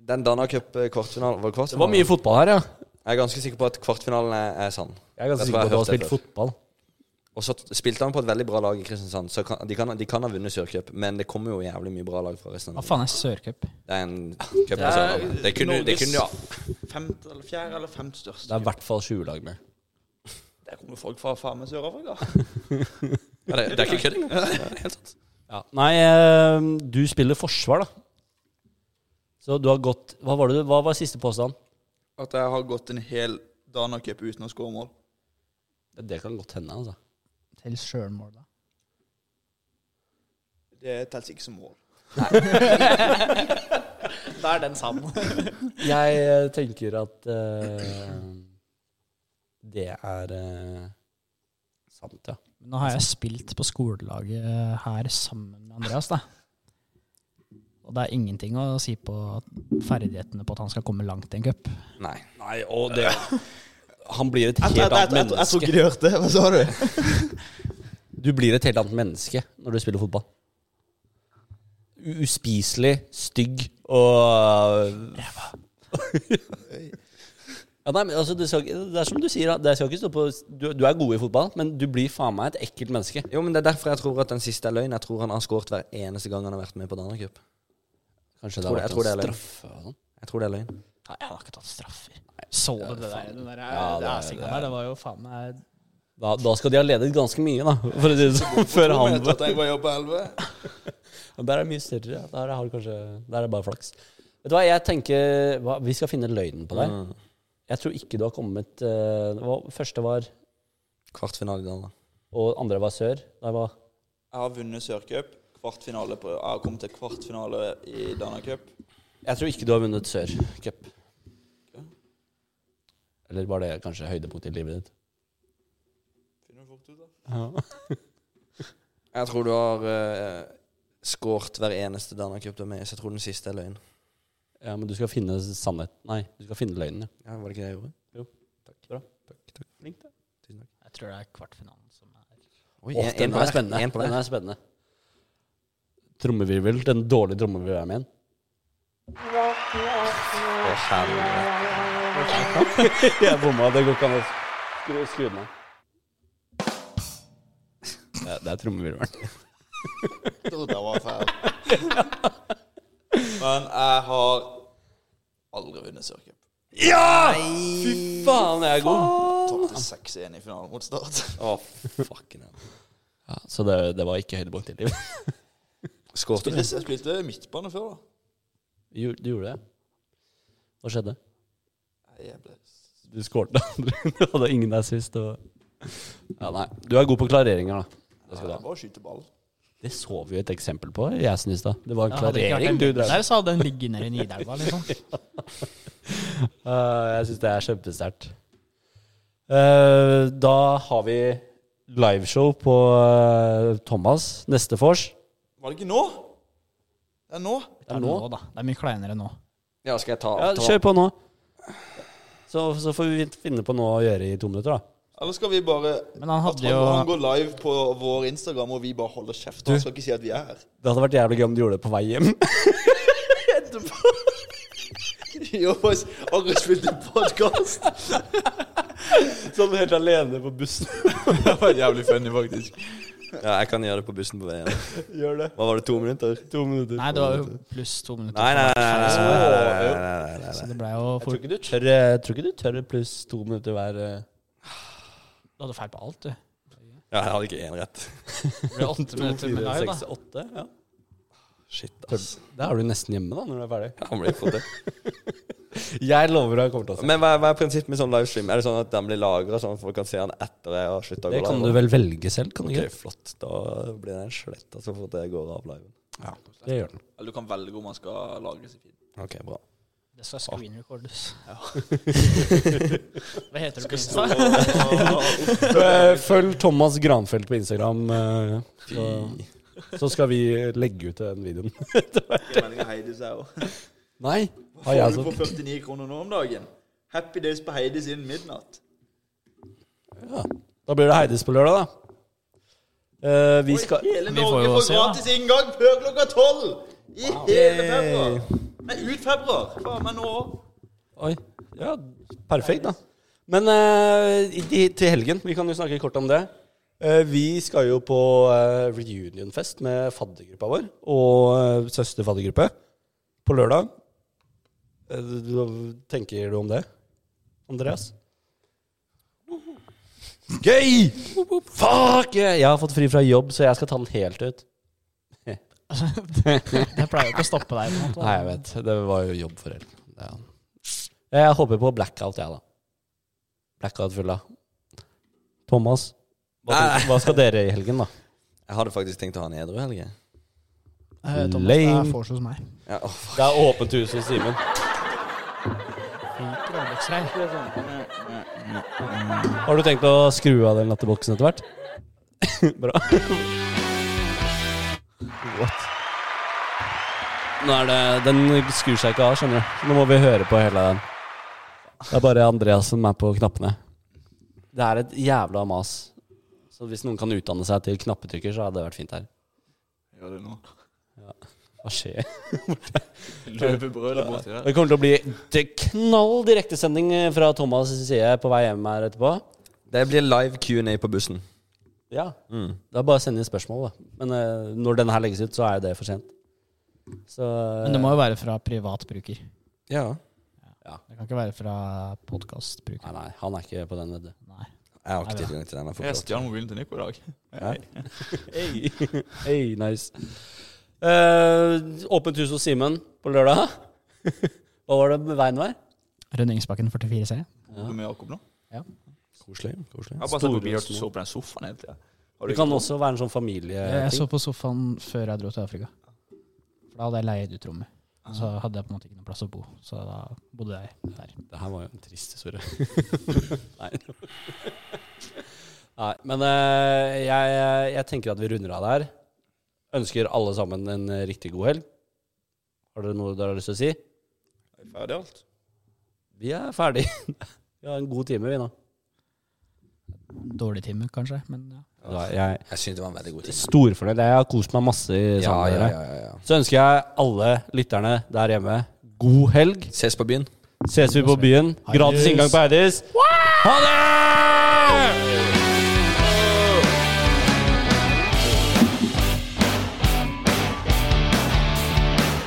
B: Den Dana Cup eh, kvartfinalen
A: Det
B: var det
A: var
B: kvartfinalen?
A: mye fotball her, ja.
B: Jeg er ganske sikker på at kvartfinalen er, er sann.
A: Jeg er ganske
B: Jeg tror
A: sikker på at
B: jeg
A: du har
B: hørte det
A: spilt
B: før.
A: fotball.
B: Og så t- spilte han på et veldig bra lag i Kristiansand, så kan, de, kan, de kan ha vunnet Sørcup, men det kommer jo jævlig mye bra lag fra resten av
D: Hva
B: landet.
D: faen er Sørcup?
B: Det er en cup fra Sørlandet. altså, Det kunne, det kunne ja.
C: Femte eller fjerde eller femte største.
A: Det er i hvert fall 20 lag med.
C: Der kommer folk fra faen meg Sør-Afrika.
B: ja det, det er ikke kødd engang. Det er helt sant.
A: Ja. Nei, eh, du spiller forsvar, da. Så du har gått Hva var, det, du- hva var siste påstand?
C: At jeg har gått en hel Dana Cup uten å skåre mål.
A: Det kan godt hende, altså.
D: Til sjølmål, da.
C: Det telles ikke som mål.
D: Da er den sann.
A: Jeg eh, tenker at eh, det er eh, sant, ja.
D: eh, Nå har jeg spilt på skolelaget her sammen med Andreas, da. Og det er ingenting å si på ferdighetene på at han skal komme langt i en cup.
B: Nei.
A: Nei, og det Han blir et helt
C: Jeg
A: annet
C: tror
A: menneske.
C: ikke de hørte. Hva sa du?
A: Du blir et helt annet menneske når du spiller fotball. U- Uspiselig, stygg og Ræva. ja, nei, men altså, det, skal, ikke- det er som du sier, da. det skal ikke stå på du, du er god i fotball, men du blir faen meg et ekkelt menneske.
B: Jo, men Det er derfor jeg tror at den siste er løgn. Jeg tror han har skåret hver eneste gang han har vært med på Danacup.
A: Kanskje det
B: Tror
A: har
B: det- jeg
A: vært
B: tror det
A: en
B: er løgn.
A: straffe og sånn.
B: Jeg tror det er løgn.
D: Nei, jeg har ikke tatt straffer. Så du det der? Den der
A: Ja, det er-
D: æsinga der, det var jo faen meg
A: Da, da skal de ha ledet ganske mye, da. For å si det sånn. Før han
C: Jeg tenker på jobb på 11.
A: Men Der er det mye større. ja. Der har du kanskje Der er det bare flaks. Vet du hva, jeg tenker hva, Vi skal finne løgnen på deg.
B: Mm.
A: Jeg tror ikke du har kommet eh, det var- Første var
B: Kvartfinale i Dana.
A: Og andre var sør. Der var
E: Jeg har vunnet Sørcup. Kvartfinale på Jeg har kommet til kvartfinale i Dana Cup.
A: Jeg tror ikke du har vunnet sør-cup. Eller var det kanskje høydepunktet i livet ditt?
E: Finner du fort ut, da?
B: Jeg tror du har uh, skåret hver eneste Danacup du er med i, så jeg tror den siste er løgn.
A: Ja, men du skal finne sannhet Nei, du skal finne løgnen, ja.
B: Ja, Var det ikke det jeg gjorde?
A: Jo.
B: Takk.
A: Bra.
B: Takk, takk.
A: Flink, da.
B: Tusen takk.
D: Jeg tror det er kvartfinalen som er
B: Oi,
A: Åh,
B: en- en
A: den
B: på
A: er
B: hver.
A: spennende.
B: En på hver.
A: Den er spennende. Trommevirvel. Den dårlige trommevirvelen min.
B: Å, helvete.
A: Jeg bomma. Det går ikke an å skru, skru den av. Det, det er trommevirvelen.
C: Jeg trodde jeg var feil.
E: Men jeg har aldri vunnet Sørcup.
A: Ja! Fy faen, jeg er god.
E: Tapte 6-1 i finalen mot Start.
B: Å, fucking hell.
A: Ja, så det, det var ikke høydepunkt i livet.
B: Skårte du?
E: Jeg spilte midtbane før, da.
A: Du, gjorde- du gjorde det? Hva skjedde?
E: Nei, Jeg ble
A: Du skåret andre. Du hadde ingen der sist. Og... Ja, nei. Du er god på klareringer, da. Det, skal du ha.
E: bare å skyte ball.
A: det så vi jo et eksempel på i Gjesten i stad. Det var en
D: Ja, hadde det ikke vært
A: klarering
D: en
A: du
D: midtbane
A: drev
D: Der så hadde den ligget nede i Nidelva, liksom.
A: Eh, jeg syns det er kjempesterkt. Eh, da har vi liveshow på eh, Thomas neste vors.
E: Var det ikke nå? Det er nå.
D: Det er nå, da. Det er mye kleinere nå.
B: Ja, skal jeg ta
A: Ja,
B: ta-
A: kjør på nå. Så, så får vi finne på noe å gjøre i to minutter, da.
C: Eller skal vi bare
D: Men han
C: At
D: hadde
C: han,
D: jo
C: han går live på vår Instagram, og vi bare holder kjeft. Han skal ikke si at vi er her.
A: Det hadde vært jævlig gøy om du gjorde det på vei hjem.
C: Jo, boys, Agri spilte podkast.
A: Sånn helt alene på bussen.
E: Det var jævlig funny, faktisk.
B: Ja, jeg kan gjøre det på bussen på veien.
A: Gjør det.
B: Hva var det, to minutter?
A: To minutter.
D: Nei, det var jo pluss to minutter.
B: Nei, nei, nei. nei, nei, nei, nei, nei, nei, nei,
D: Så
B: nei.
D: det ble jo
A: Jeg tror
D: fort.
A: ikke du tør, jeg tror ikke du tør pluss to minutter hver eh.
D: Du hadde feil på alt, du.
B: Ja, jeg hadde ikke én rett.
D: Det ble åtte minutter med live, da.
A: åtte. Ja.
B: Shit,
A: Tør-
B: ass.
A: Da er du nesten hjemme, da, når du er ferdig.
B: Ja, Han blir fått det.
A: Jeg lover deg kommer til å se.
B: Men hva er, hva er prinsippet med sånn livestream? Er det sånn at den blir lagra, sånn at folk kan se den etter jeg har slutta å gå
A: Det
B: live?
A: kan du vel velge selv, kan du
B: Ok,
A: ikke?
B: flott. Da blir den sletta så fort jeg går av liven.
A: Ja, det gjør den.
E: Eller du kan velge om han skal lagres i feed.
B: Ok, bra.
D: Det skal screen recordes. Hva heter det på Insta?
A: Eh, Følg Thomas Granfeldt på Instagram, eh, så, så skal vi legge ut den videoen.
C: Heidi sa jo.
A: Nei, har
C: Får
A: jeg
C: du på
A: sånn?
C: 49 kroner nå om dagen? Happy days på Heidis innen midnatt.
A: Ja. Da blir det Heidis på lørdag, da. Eh, vi skal
C: Hele
D: Vi får
C: Norge
D: jo
C: får
D: se, da.
C: gratis inngang før klokka tolv! I hele februar. Nei, ut februar. Faen meg nå òg.
A: Oi. Ja, perfekt, da. Men eh, i- i- til helgen, vi kan jo snakke kort om det. Eh, vi skal jo på eh, reunionfest med faddergruppa vår og uh, søsterfaddergruppe på lørdag. Eh, hva tenker du om det, Andreas? Gøy! Fuck! yeah! Jeg har fått fri fra jobb, så jeg skal ta den helt ut.
D: Det pleier jo ikke å stoppe deg. på en måte.
A: Nei, jeg vet. Det var jo jobb for helgen. Ja. Jeg håper på blackout, jeg, da. Blackout-fylla. Thomas, hva, tenker- hva skal dere i helgen, da?
B: Jeg hadde faktisk tenkt å ha en edru helg. jeg.
D: Eh, Thomas, det er
A: Lame.
D: vors hos meg.
B: Ja, åh, fuck.
A: Det er åpent hus hos Simen.
D: Fyker Alex-rei.
A: Eh. Har du tenkt å skru av den latterboksen etter hvert? Bra. What? Nå er det, den skrur seg ikke av, skjønner du. Så Nå må vi høre på hele den. Det er bare Andreas som er på knappene. Det er et jævla mas. Så hvis noen kan utdanne seg til knappetrykker, så hadde det vært fint her.
F: Gjør det nå.
A: Hva skjer?
F: Løvebrød der borte.
A: Det kommer til å bli til knall direktesending fra Thomas' side på vei hjem her etterpå.
B: Det blir live Q&A på bussen.
A: Ja.
B: Mm.
A: Det er bare å sende inn spørsmål, da. Men eh, når denne her legges ut, så er jo det for sent. Så
D: Men det må jo være fra privat bruker.
B: Ja.
D: Det kan ikke være fra podkastbruker.
A: eh, Nei, nei, han er ikke på den, vet du.
D: Nei.
B: Jeg har ikke tilgang til den. Jeg får
C: Jeg
B: ikke lov.
C: stjal mobilen til Nico i dag.
A: Hey. hey, nice. Eh, åpent hus hos Simen på lørdag. Hva var det med veien var?
D: Rønningsbakken 44C.
A: Eh,
C: Bor du med Jakob nå?
B: Koselig. koselig.
C: Jeg har bare sett
A: Store
C: på Beard
A: små.
C: og så på den sofaen hele tida.
A: Det kan også være en sånn familieting.
D: Jeg så på sofaen før jeg dro til Afrika. For da hadde jeg leid ut rommet. Så
A: Ah.
D: hadde jeg på en måte ikke noe plass å bo, så da bodde jeg der.
A: Det her var jo en trist historie. Nei. Nei, men eh, jeg, jeg tenker at vi runder av der. Ønsker alle sammen en eh, riktig god helg. Har dere noe dere har lyst til å si?
F: Er det Ferdig alt?
A: Vi er ferdig. Vi har en god time, vi nå.
D: Dårlig time, kanskje, men ja.
A: Da er Jeg
B: Jeg syns det var en veldig god
A: er
B: tid.
A: storfornøyd. Jeg har kost meg masse i
B: Ja,
A: sammen med
B: ja,
A: dere.
B: ja, ja, ja.
A: Så ønsker jeg alle lytterne der hjemme god helg.
B: Ses på byen.
A: Ses vi på byen. Gratis inngang på Eidis. Ha det!